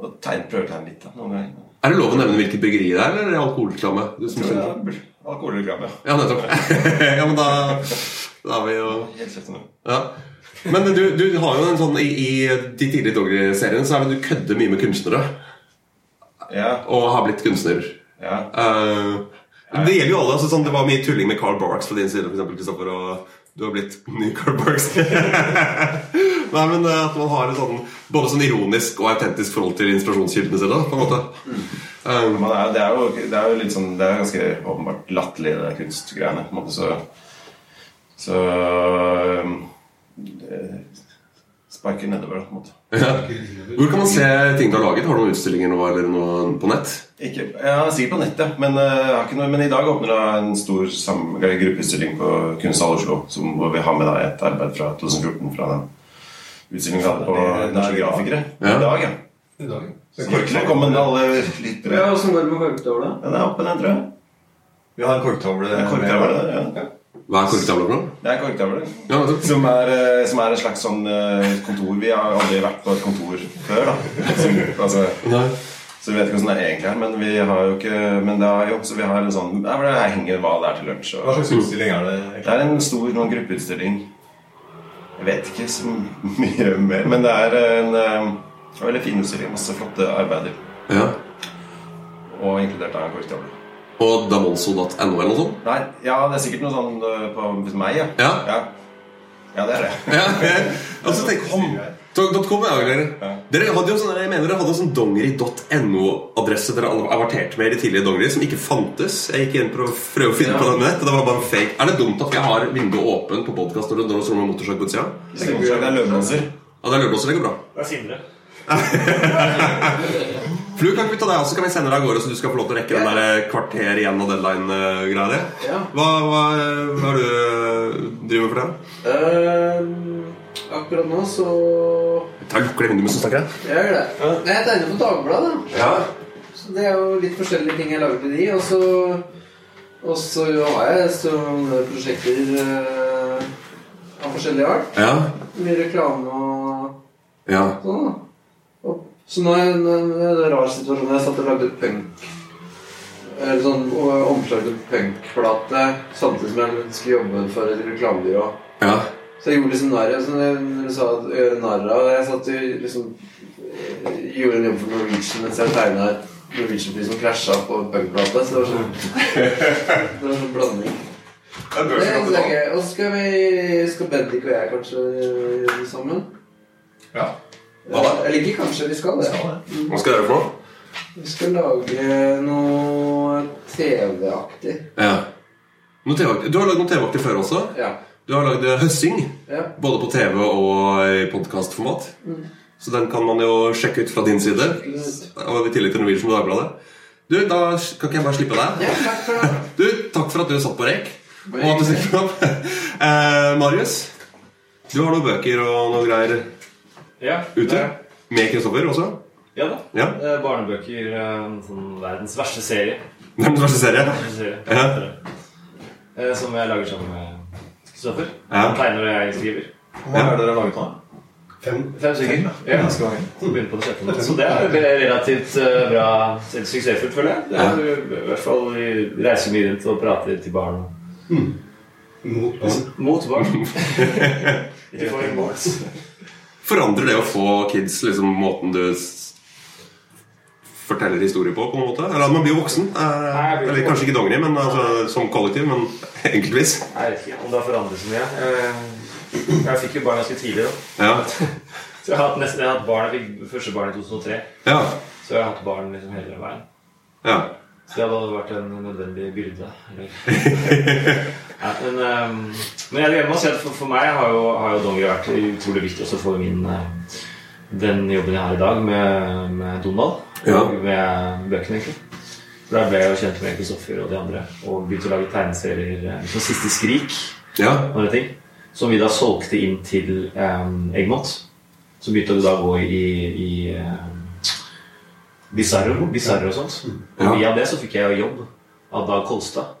Speaker 4: Og tegn, prøver å tegne litt, da. Noen ganger.
Speaker 2: Er det lov å nevne hvilket bryggeri det er, eller er det alkoholreklame? Du som-
Speaker 4: Så, ja, Alkoholreklame.
Speaker 2: Ja, nettopp. ja, men da, da er vi jo
Speaker 4: Helt kjeft om det.
Speaker 2: Ja. Men du, du har jo en sånn I, i de tidlige Dogger-seriene så er det du kødder mye med kunstnere.
Speaker 4: Ja.
Speaker 2: Og har blitt kunstner.
Speaker 4: ja.
Speaker 2: Eh, men det gjelder jo alle. Altså, sånn, det var mye tulling med Carl Barks fra din side, for eksempel, Kristoffer. Og du har blitt ny Carl Barks. Nei, men eh, at man har et sånn både sånn ironisk og autentisk forhold til inspirasjonskildene sine. da, på en måte Eh,
Speaker 4: Man er, det, er jo, det er jo litt sånn Det er ganske åpenbart latterlig, det der kunstgreiene. På en måte, så så øhm, det sparker nedover, da. På en måte.
Speaker 2: Hvor kan man se ting du har laget? Har du noen utstillinger nå eller noe på nett?
Speaker 4: Ikke, ja, sikkert på nettet, men, øh, jeg har ikke noe, men i dag åpner da en stor sam- gruppeutstilling på Kunsthall Oslo. Som, hvor vi har med da et arbeid fra 2014 fra den utstillingen vi hadde på Norske Grafikere.
Speaker 2: Ja.
Speaker 4: I dag, ja.
Speaker 6: I dag.
Speaker 4: Så hjertelig velkommen alle lyttere.
Speaker 3: Ja, Åssen går det med korktåla?
Speaker 4: Den er oppe, den, tror jeg.
Speaker 9: Vi har en korktavle.
Speaker 4: Det er korktavle, det. Ja.
Speaker 2: Hva er korktavla for noe?
Speaker 4: Det er korktavle.
Speaker 2: Ja, nettopp.
Speaker 4: Som er, eh, som er et slags sånn eh, kontor Vi har aldri vært på et kontor før, da. Som, altså,
Speaker 2: Nei.
Speaker 4: så vi vet ikke hvordan det er egentlig her, men vi har jo ikke Men det er jo, så vi har en sånn Der hvor det henger hva det er til lunsj.
Speaker 9: Hva
Speaker 4: Og,
Speaker 9: slags utstilling er det? egentlig?
Speaker 4: det er en stor noen gruppeutstilling. Jeg vet ikke så mye mer, men det er en eh, veldig fin utstilling. Masse flotte arbeider.
Speaker 2: Ja.
Speaker 4: Og inkludert av en korktavle.
Speaker 2: Og damonso.no eller noe sånt?
Speaker 4: Nei, ja, det er sikkert noe sånn eh, på hos meg, ja.
Speaker 2: Ja.
Speaker 4: ja. Ja, det er det.
Speaker 2: Ja, altså, tenk,
Speaker 9: Kom. Det
Speaker 2: Tog.com er jo dere. Dere hadde jo sånn, jeg mener dere hadde en sånn dongeri.no-adresse dere averterte med i de tidligere dongeri, som ikke fantes. Jeg gikk inn for å prøve å finne på den nett, og det var bare fake. Er det dumt at jeg har vinduet åpent på podkast når det når det står noe med motorsag på utsida?
Speaker 4: Det er løvdanser.
Speaker 2: Ja, det er lørdag, så det går bra.
Speaker 7: Det er Sindre.
Speaker 2: Flu, kan ikke vi ta deg også, kan vi sende deg av gårde, så du skal få lov til å rekke den der eh, kvarter igjen av deadline-greia di?
Speaker 3: Ja.
Speaker 2: Hva, hva, hva er det du driver med for det?
Speaker 3: Øhm, Ehm, akkurat nå så
Speaker 2: Ta Lukker det vinduet mens du snakker?
Speaker 3: Jeg gjør det. Men Jeg tegner på Dagbladet. da.
Speaker 2: Ja.
Speaker 3: Så det er jo litt forskjellige ting jeg lager til de. Og så, og så har jeg sånne prosjekter øh, av forskjellig art.
Speaker 2: Ja.
Speaker 3: Mye reklame og
Speaker 2: ja.
Speaker 3: sånn. da. Og- Så nå er jeg nå er det en rar situasjon. Jeg satt og lagde punk. Eller sånn og omslag til punkplate samtidig som jeg skulle jobbe for et reklamebyrå.
Speaker 2: ja.
Speaker 3: Så jeg gjorde liksom narr av sånn, jeg- når du sa at gjøre narr av Jeg satt jo liksom eh, Gjorde en jobb for Norwegian mens jeg tegna et Norwegian-fly som krasja på en punkplate. Så det var sånn Det var sånn blanding.
Speaker 4: er
Speaker 3: Det
Speaker 4: børsen
Speaker 3: er
Speaker 4: oppe
Speaker 3: det
Speaker 4: nå.
Speaker 3: er gøy. Og så skal vi Skal Bendik og jeg kanskje gjøre det sammen?
Speaker 9: Ja.
Speaker 2: Hva da?
Speaker 3: Eller ikke kanskje, vi skal det.
Speaker 2: Hva skal jeg gjøre for noe?
Speaker 3: Vi skal lage noe TV-aktig.
Speaker 2: Ja. Noe TV du har lagd noen TV-aktig før også.
Speaker 3: Ja.
Speaker 2: Du har lagd eh, Høssing,
Speaker 3: ja.
Speaker 2: både på TV og i podkastformat.
Speaker 3: Mm.
Speaker 2: Så den kan man jo sjekke ut fra din side. Og I tillegg til Norwegian og Dagbladet. Du, Da kan ikke jeg bare slippe deg.
Speaker 3: ja takk for det.
Speaker 2: Du, Takk for at du satt på rek. Og at du stilte opp. Eh, Marius, du har noen bøker og noe greier
Speaker 7: Ja,
Speaker 2: ute.
Speaker 7: det-
Speaker 2: Med Kristoffer også.
Speaker 7: Ja da.
Speaker 2: Ja.
Speaker 7: Eh, Barnebøker. eh, Sånn verdens verste serie.
Speaker 2: Verdens verste serie.
Speaker 7: Verste serie.
Speaker 2: Ja.
Speaker 7: Eh, Som jeg lager sammen med Kristoffer.
Speaker 2: Ja.
Speaker 7: Han tegner og jeg skriver.
Speaker 9: Hvor mange er det dere har laget nå?
Speaker 6: Fem.
Speaker 7: Fem stykker.
Speaker 9: Ja.
Speaker 7: Ja.
Speaker 9: Ganske mange.
Speaker 7: Så begynner på det sjette nå. Så det er vel relativt eh, bra selv suksessfullt, føler jeg. Det er, I hvert fall vi reiser mye rundt og prater til barn.
Speaker 6: Mot barn.
Speaker 7: Mot barn. Ikke for barn.
Speaker 2: Forandrer det å få kids liksom måten du s- forteller historier på? på en måte? Eller at man blir jo voksen? Eh,
Speaker 7: Nei, jeg blir
Speaker 2: eller
Speaker 7: ikke
Speaker 2: kanskje ikke dongeri, men altså, som kollektiv. Men enkeltvis.
Speaker 7: Jeg vet ikke om det har forandret så mye. Eh, Jeg fikk jo barn ganske tidlig. da
Speaker 2: Ja.
Speaker 7: Så jeg har hatt nesten jeg har hatt barn, jeg fikk første barn i 2003.
Speaker 2: Ja.
Speaker 7: Så jeg har hatt barn liksom hele veien.
Speaker 2: ja.
Speaker 7: Så det hadde vært en nødvendig byrde. Eller? ja, men, um, men jeg jeg må si at for, for meg har jo, har jo dongeri vært utrolig viktig også for min eh, den jobben jeg har i dag med, med Donald.
Speaker 2: Ja.
Speaker 7: Og med bøkene, egentlig. For Der ble jeg jo kjent med Kristoffer og de andre. Og begynte å lage tegneserier eh, som Siste Skrik.
Speaker 2: ja.
Speaker 7: og andre ting Som vi da solgte inn til um, Egmont. Så begynte det da å gå i, i eh, Bizarro, Bizarro og sånt. Og
Speaker 2: Mm. Ja.
Speaker 7: via det så fikk jeg jo jobb av Dag Kolstad.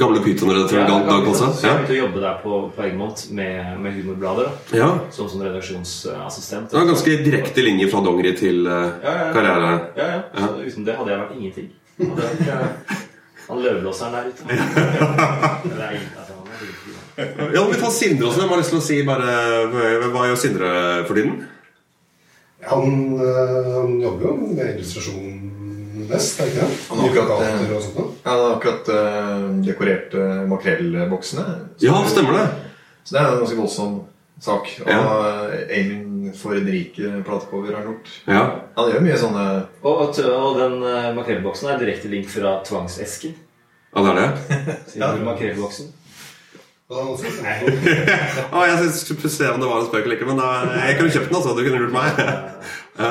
Speaker 2: Gamle pytonredaktør Dag Dag
Speaker 7: Så jeg
Speaker 2: Kolstad.
Speaker 7: begynte å jobbe der på, på Egmont med, med humorblader. da.
Speaker 2: Ja. ja.
Speaker 7: Som, som redaksjonsassistent.
Speaker 2: Det var en ganske direkte linje fra dongeri til eh,
Speaker 7: Ja, ja, ja.
Speaker 2: karriere.
Speaker 7: Ja, ja. Så uten det hadde jeg vært ingenting. Hadde jeg vært, eh, Han løvlåseren der ute. Det er ingen- altså, han er virkelig-
Speaker 2: Ja, men Vi tar Sindre også. Hvem har lyst til å si bare eh, Hva gjør Sindre for tiden?
Speaker 6: Han, eh, han jobber jo med illustrasjon mest, er det ikke det?
Speaker 9: Han har
Speaker 6: Mye
Speaker 9: akkurat, eh,
Speaker 6: plakater og sånt noe.
Speaker 9: Jeg hadde akkurat eh, dekorert eh, makrellboksene. Så-
Speaker 2: Ja, stemmer det.
Speaker 9: Så det er en ganske voldsom sak. Og
Speaker 2: Ja.
Speaker 9: eh, Eimin for rike platecover har han gjort.
Speaker 2: Ja.
Speaker 9: Han gjør mye sånne
Speaker 7: Og, og, t- og den eh, makrellboksen er direkte link fra tvangsesken.
Speaker 2: ja, det er det.
Speaker 7: Siden du er makrellboksen.
Speaker 6: Og han har også sendt noe.
Speaker 2: Å, jeg skulle se om det var en spøk eller ikke, men da, jeg kunne kjøpt den. altså, Du kunne lurt meg. Ja.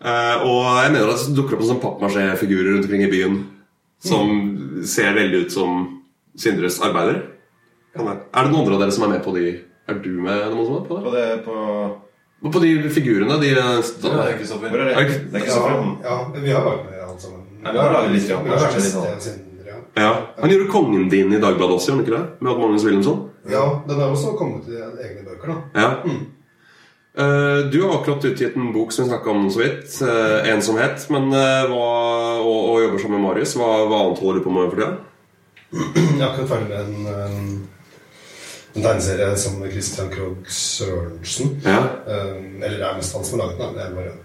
Speaker 2: Eh, og jeg mener at det dukker opp noen sånne pappmasjé-figurer rundt omkring i byen som ser veldig ut som Sindres arbeider. Kan det- Er det noen andre av dere som er med på de? Er du med noen som er på det?
Speaker 4: På det på
Speaker 2: På de figurene? De,
Speaker 9: Hvor er
Speaker 2: ja,
Speaker 9: det, Kristoffer?
Speaker 4: Hvor er
Speaker 2: Er
Speaker 4: det?
Speaker 2: det-
Speaker 4: Det er
Speaker 6: Ja,
Speaker 4: ikke så frem.
Speaker 6: ja, vi har vært med alle sammen.
Speaker 9: Nei, vi har laget litt, sånn. ja.
Speaker 6: Vi har vært med Sten Sindre, ja.
Speaker 2: Han gjorde kongen din i Dagbladet også, gjorde han ikke det? Med Odd Magnus Wilhelmsson?
Speaker 6: Ja, den har også kommet i egne bøker, da.
Speaker 2: Ja. Mm. Eh, du har akkurat utgitt en bok som vi snakka om så vidt. eh, 'Ensomhet'. Men, eh, hva, og, og jobber sammen med Marius. Hva, hva annet holder du på med for tida?
Speaker 6: Jeg er akkurat ferdig med en, eh, en tegneserie sammen med Christian Krogh Sørensen.
Speaker 2: Ja.
Speaker 6: Eh, Eller det er mest han som har laget den. da. Jeg bare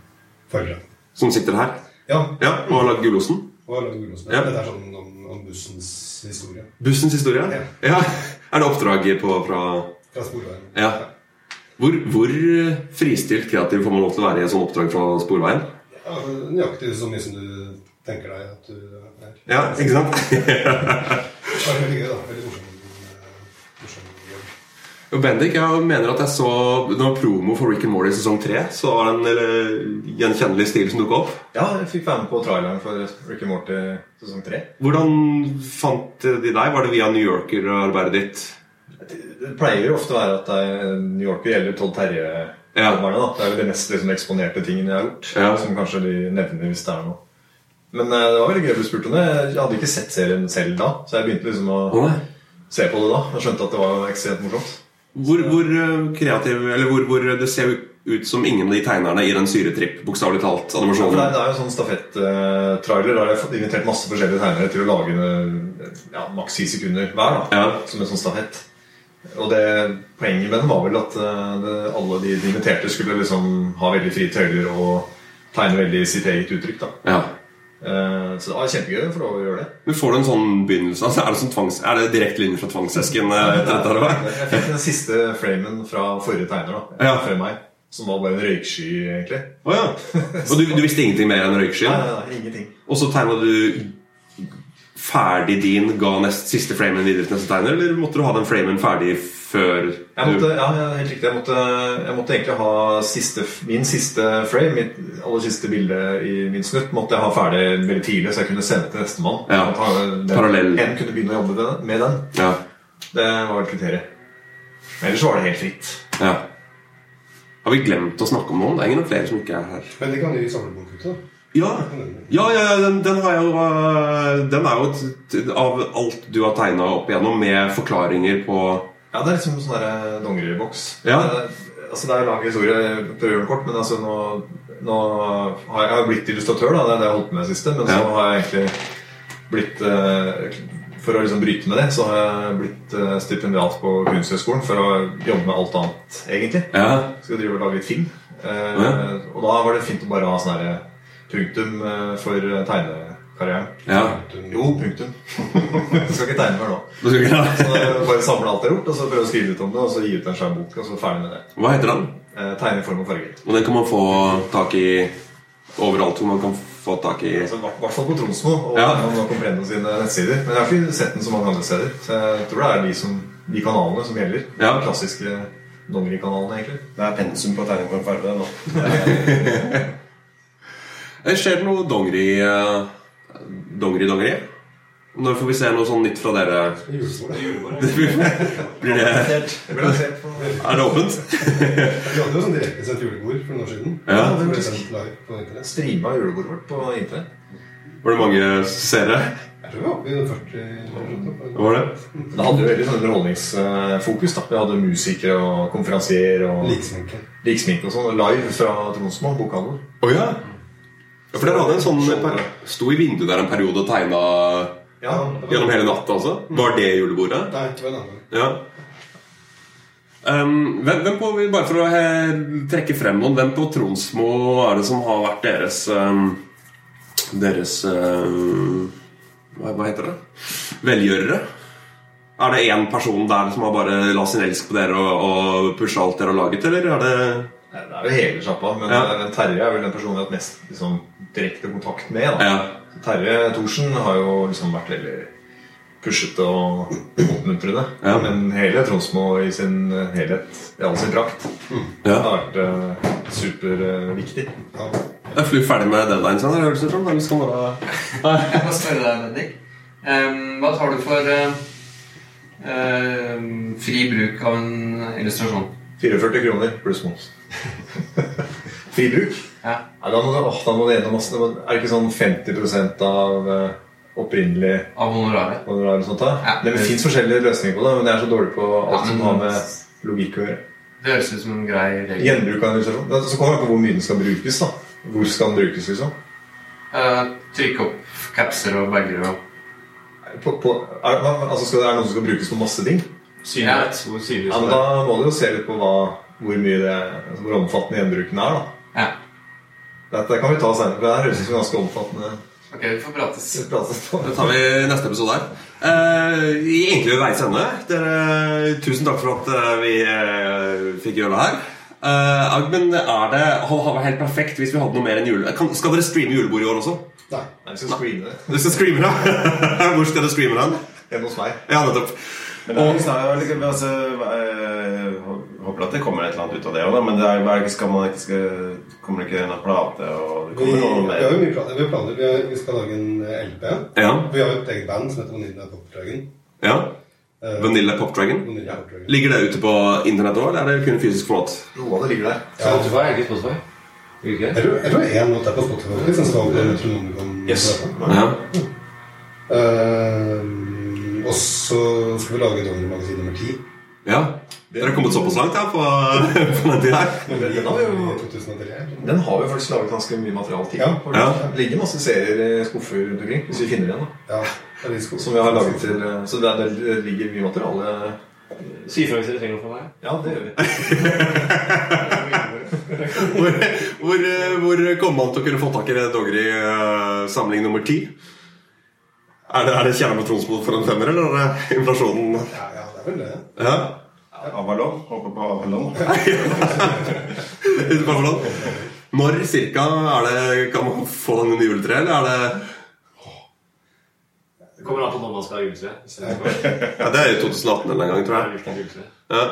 Speaker 6: følger den.
Speaker 2: Som sitter her.
Speaker 6: Ja,
Speaker 2: Ja, Og har lagd Gulosen.
Speaker 6: og har laget Gullåsen.
Speaker 2: Ja.
Speaker 6: Det er sånn om, om bussens historie.
Speaker 2: Bussens historie?
Speaker 6: Ja.
Speaker 2: Er det oppdraget på fra
Speaker 6: Fra Sporveien.
Speaker 2: Ja. Hvor, hvor eh, fristilt kreativ får man lov til å være i et sånt oppdrag fra Sporveien?
Speaker 6: Ja, altså, nøyaktig så mye som du tenker deg at du er.
Speaker 2: Ja, ikke sant?
Speaker 6: Det er veldig gøy, da. Veldig morsom, eh, morsom jobb.
Speaker 2: Og Bendik, jeg mener at jeg så Det var promo for Rick and Morty sesong tre. Så var det en eller, gjenkjennelig stil som dukket opp.
Speaker 9: Ja, jeg fikk være med på traileren for Ricky Morty sesong tre.
Speaker 2: Hvordan fant de deg? Var det via New Yorker-arbeidet ditt?
Speaker 9: Det pleier jo ofte å være at det er New Yorker eller Todd Terje.
Speaker 2: Ja.
Speaker 9: Barna, da. Det er jo de mest liksom, eksponerte tingene jeg har gjort.
Speaker 2: Ja.
Speaker 9: Som kanskje de nevner hvis det er noe. Men eh, det var veldig gøy å bli spurt om det. Jeg hadde ikke sett serien selv da, så jeg begynte liksom å se på det da. Jeg skjønte at det var ekstremt morsomt.
Speaker 2: Hvor, hvor eh, kreativ Eller hvor, hvor det ser ut som ingen av de tegnerne i den syretripp, bokstavelig talt,
Speaker 9: Ja, for det, er-
Speaker 2: animasjonen.
Speaker 9: det er jo en sånn stafett-trailer. Da har jeg fått invitert masse forskjellige tegnere til å lage en, ja, maks ti sekunder hver. da
Speaker 2: Ja.
Speaker 9: Som en sånn stafett. Og det, poenget med den var vel at eh, det, alle de de inviterte skulle liksom ha veldig frie tøyler og tegne veldig sitt eget uttrykk. da
Speaker 2: Ja.
Speaker 9: Eh, Så det var kjempegøy å få lov å gjøre det.
Speaker 2: Men Får du en sånn begynnelse? Altså, er det sånn tvangs, er det direkte linje fra tvangsesken? eh, etter dette her, eller?
Speaker 9: Jeg fikk den siste framen fra forrige tegner. da
Speaker 2: Ja.
Speaker 9: Før meg Som var bare en røyksky, egentlig.
Speaker 2: Å ja. Og du, du visste ingenting mer enn
Speaker 9: Nei,
Speaker 2: røykskyen?
Speaker 9: nei, nei, ingenting
Speaker 2: Og så tegna du ferdig din, ga nest siste framen videre til neste tegner, eller måtte du ha den framen ferdig før
Speaker 9: jeg måtte,
Speaker 2: du
Speaker 9: ja, ja, helt riktig. Jeg måtte, jeg måtte egentlig ha siste, min siste frame, mitt aller siste bilde i min snutt, måtte jeg ha ferdig veldig tidlig, så jeg kunne sende til nestemann.
Speaker 2: Ja,
Speaker 9: At han- den-
Speaker 2: parallell.
Speaker 9: En kunne begynne å jobbe med den- med den.
Speaker 2: Ja.
Speaker 9: Det var vel kriteriet. Men Ellers var det helt fritt.
Speaker 2: ja. Har vi glemt å snakke om noen? Det er ingen flere som ikke er her.
Speaker 6: Men de kan jo samlebok ut, da.
Speaker 2: Ja, ja, ja ja, den, den, har jeg jo, eh, den er jo et- et- av alt du har tegna opp igjennom, med forklaringer på
Speaker 9: Ja, det er liksom sånn der, eh, dongeriboks.
Speaker 2: Ja.
Speaker 9: Eh, Altså, det er jo lang historie, jeg prøver den kort, men altså, nå, nå har jeg, jeg har blitt illustratør, da, det er det jeg har holdt på med i det siste, men
Speaker 2: Ja.
Speaker 9: så har jeg egentlig blitt eh, For å liksom bryte med det, så har jeg blitt eh, stipendiat på Kunsthøgskolen for å jobbe med alt annet, egentlig.
Speaker 2: Ja,
Speaker 9: Skal drive og lage litt film. Eh,
Speaker 2: Ja.
Speaker 9: Og da var det fint å bare ha sånn her punktum eh, for tegnekarrieren.
Speaker 2: ja.
Speaker 9: Jo, punktum. jeg skal ikke tegne mer nå.
Speaker 2: Du skal ikke ha-
Speaker 9: Så eh, bare samle alt jeg har gjort, og så prøve å skrive ut om det, og så gi ut en svær bok, og så ferdig med det.
Speaker 2: Hva heter den?
Speaker 9: Eh, Tegne i form og farger.
Speaker 2: Og den kan man få tak i overalt hvor man kan få tak i
Speaker 9: Altså, I hvert- hvert fall på Tromsmo og
Speaker 2: Ja.
Speaker 9: og nå Comprendo sine nettsider. Men jeg har ikke sett den så mange andre steder. Så jeg tror det er de, som, de kanalene som gjelder.
Speaker 2: Ja.
Speaker 9: De klassiske dongerikanalene, egentlig.
Speaker 4: Det er pensum på tegning for en farge nå.
Speaker 2: Eh, Skjer det noe dongeri eh, Dongeri, dongeri? Når får vi se noe sånn nytt fra dere?
Speaker 6: Julebordet.
Speaker 2: Blir det,
Speaker 9: Det ble basert på
Speaker 2: er det åpent?
Speaker 6: Vi hadde jo sånn direktesendt julebord for noen år siden.
Speaker 2: Ja.
Speaker 6: det ble sendt live på internett.
Speaker 9: streama julebordet vårt på internett.
Speaker 2: Var det mange seere?
Speaker 6: Jeg tror vi var oppe i den 40 eller noe sånt.
Speaker 2: Var det?
Speaker 9: Det hadde jo veldig sånn underholdningsfokus. da Vi hadde musikere og konferansier og
Speaker 6: Liksminken.
Speaker 9: liksminke og sånn. Live fra Tromsmo bokhandel.
Speaker 2: Å ja. ja. For dere hadde en sånn per- Sto i vinduet der en periode og tegna
Speaker 9: Ja,
Speaker 2: gjennom hele natta, altså? Var det julebordet?
Speaker 6: Nei, det var en annen.
Speaker 2: Ja. Ehm, hvem, hvem på, bare for å he, trekke frem noen, hvem på Tronsmo er det som har vært deres ehm, Deres ehm, hva, hva heter det? Velgjørere? Er det én person der som har bare la sin elsk på dere og, og pusha alt dere har laget, eller er det
Speaker 9: Nei, Det er jo hele sjappa, men
Speaker 2: Ja.
Speaker 9: eh, Terje er vel den personen vi har hatt mest liksom, direkte kontakt med. Da.
Speaker 2: Ja.
Speaker 9: Terje Thorsen har jo liksom vært veldig pushete og oppmuntrende.
Speaker 2: Ja.
Speaker 9: Men hele Tromsmo i sin eh, helhet, i all sin prakt,
Speaker 2: Mm. ja.
Speaker 9: har vært eh, superviktig.
Speaker 6: Ja.
Speaker 2: Er Flu ferdig med deadline sin? eller høres det ut som? Eller skal bare
Speaker 3: Jeg må spørre deg, Bendik. Ehm, hva tar du for eh, ehm, fri bruk av en illustrasjon?
Speaker 9: 44 kroner pluss moms. Fri bruk?
Speaker 3: Ja.
Speaker 9: Nei, Da må du, åh, da må du gjennom masse. Er det ikke sånn 50 av eh, opprinnelig
Speaker 3: Av honoraret?
Speaker 9: honorar og sånt? da?
Speaker 3: Ja.
Speaker 9: Det fins forskjellige løsninger på det, men jeg er så dårlig på
Speaker 3: Ja,
Speaker 9: alt som
Speaker 3: men-
Speaker 9: har med logikk å gjøre.
Speaker 3: Det høres ut som en grei regel.
Speaker 9: Gjenbruk av en illustrasjon. Det- Så kommer det an på hvor mye den skal brukes. da Hvor skal den brukes, liksom?
Speaker 3: Eh, trykke opp capser og bager og
Speaker 9: På, på, er, hva- altså skal, er det noen som skal brukes på masse ting?
Speaker 7: Synlighet. Hvor synlig
Speaker 9: Ja,
Speaker 7: skal
Speaker 9: men
Speaker 7: det være?
Speaker 9: Da må du jo se litt på hva, hvor, mye det, altså hvor omfattende gjenbruken er. da
Speaker 3: Ja.
Speaker 9: Dette kan vi ta senere, for det her høres ut som ganske omfattende.
Speaker 3: Ok, vi får prates.
Speaker 9: pratet på.
Speaker 2: Da tar vi neste episode her. Eh, I egentlig ved veis ende. Dere, tusen takk for at eh, vi eh, fikk gjøre det her. Eh, Agmen, er det hadde det vært helt perfekt hvis vi hadde noe mer enn jule... Kan, skal dere streame julebord i år også?
Speaker 6: Nei.
Speaker 9: Nei, vi skal screene det.
Speaker 2: Dere skal streame det? Hvor skal dere streame den?
Speaker 9: Hjemme hos meg.
Speaker 2: Ja, nettopp.
Speaker 4: Men det er jo snarere, liksom, altså, eh, Håper at det kommer et eller annet ut av det òg, men det er, jo bare- skal man ikke, skal, kommer det ikke en plate og det
Speaker 6: Vi, vi
Speaker 4: kommer noe
Speaker 6: har jo
Speaker 4: mer?
Speaker 6: mye planer. Vi, har planer. Vi, har, vi skal lage en eh, LP.
Speaker 2: Ja.
Speaker 6: Vi har jo et eget band som heter Vanilla Pop Dragon.
Speaker 2: ja.
Speaker 6: Eh,
Speaker 2: Vanilla Pop Dragon.
Speaker 6: Vanilla Pop Dragon.
Speaker 2: Ligger det ute på internett òg, eller er det kun fysisk format?
Speaker 9: Noe av det ligger der.
Speaker 6: Ja.
Speaker 7: Spotify, er det ikke Spotify? Gjør det ikke
Speaker 6: Jeg
Speaker 7: det?
Speaker 6: tror, jeg tror en låt er på Spotify. Liksom, som var på Metronomicon.
Speaker 2: Ja.
Speaker 6: Eh, og så skal vi lage Dongeri-magasin nummer ti.
Speaker 2: ja. Dere har kommet såpass langt ja, på, på den tida her.
Speaker 9: Den har vi jo-
Speaker 6: 2003.
Speaker 9: Den har vi faktisk laget ganske mye materiale til.
Speaker 6: Ja.
Speaker 9: For
Speaker 2: Ja.
Speaker 9: Det ligger masse serier i skuffer rundt omkring, hvis vi finner igjen. da
Speaker 6: Ja, det er litt skog.
Speaker 9: Som vi har laget til eh, Så det, er- det ligger mye materiale
Speaker 7: Si ifra hvis dere trenger noe fra meg.
Speaker 9: Ja, det gjør vi.
Speaker 2: hvor, hvor, eh, hvor kommer man til å kunne få tak i det dongeri eh, samling nummer ti? Er det, er det kjernen med tronsbod for en femmer, eller er det inflasjonen?
Speaker 6: Ja, ja, det er vel det.
Speaker 2: Ja,
Speaker 4: Avalon. Håper på Avalon.
Speaker 2: utenfor Avalon? Når cirka er det, kan man få den under juletreet, eller er det
Speaker 7: Det kommer an på når man skal ha juletre. Så det
Speaker 2: Ja, Det er i 2018 eller en gang, tror jeg.
Speaker 7: er hvilken juletre.
Speaker 2: Ja.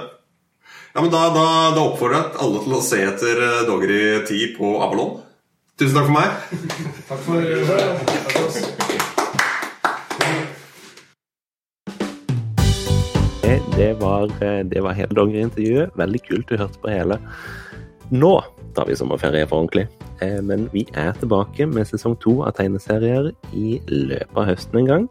Speaker 2: ja, men da, da, da oppfordrer jeg alle til å se etter eh, Doggery 10 på Avalon. Tusen takk for meg.
Speaker 6: Takk for det.
Speaker 1: Det, det, var, eh, det var hele dongeriintervjuet. Veldig kult du hørte på hele. Nå tar vi sommerferie for ordentlig. Eh, Men vi er tilbake med sesong to av tegneserier i løpet av høsten en gang.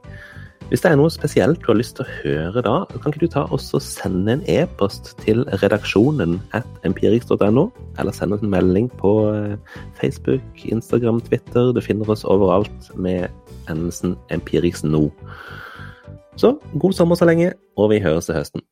Speaker 1: Hvis det er noe spesielt du har lyst til å høre da, kan ikke du ta og så sende en e-post til redaksjonen at empirix.no, eller send oss en melding på eh, Facebook, Instagram, Twitter. Du finner oss overalt med endelsen empirix nå. Så god sommer så lenge, og vi høres til høsten.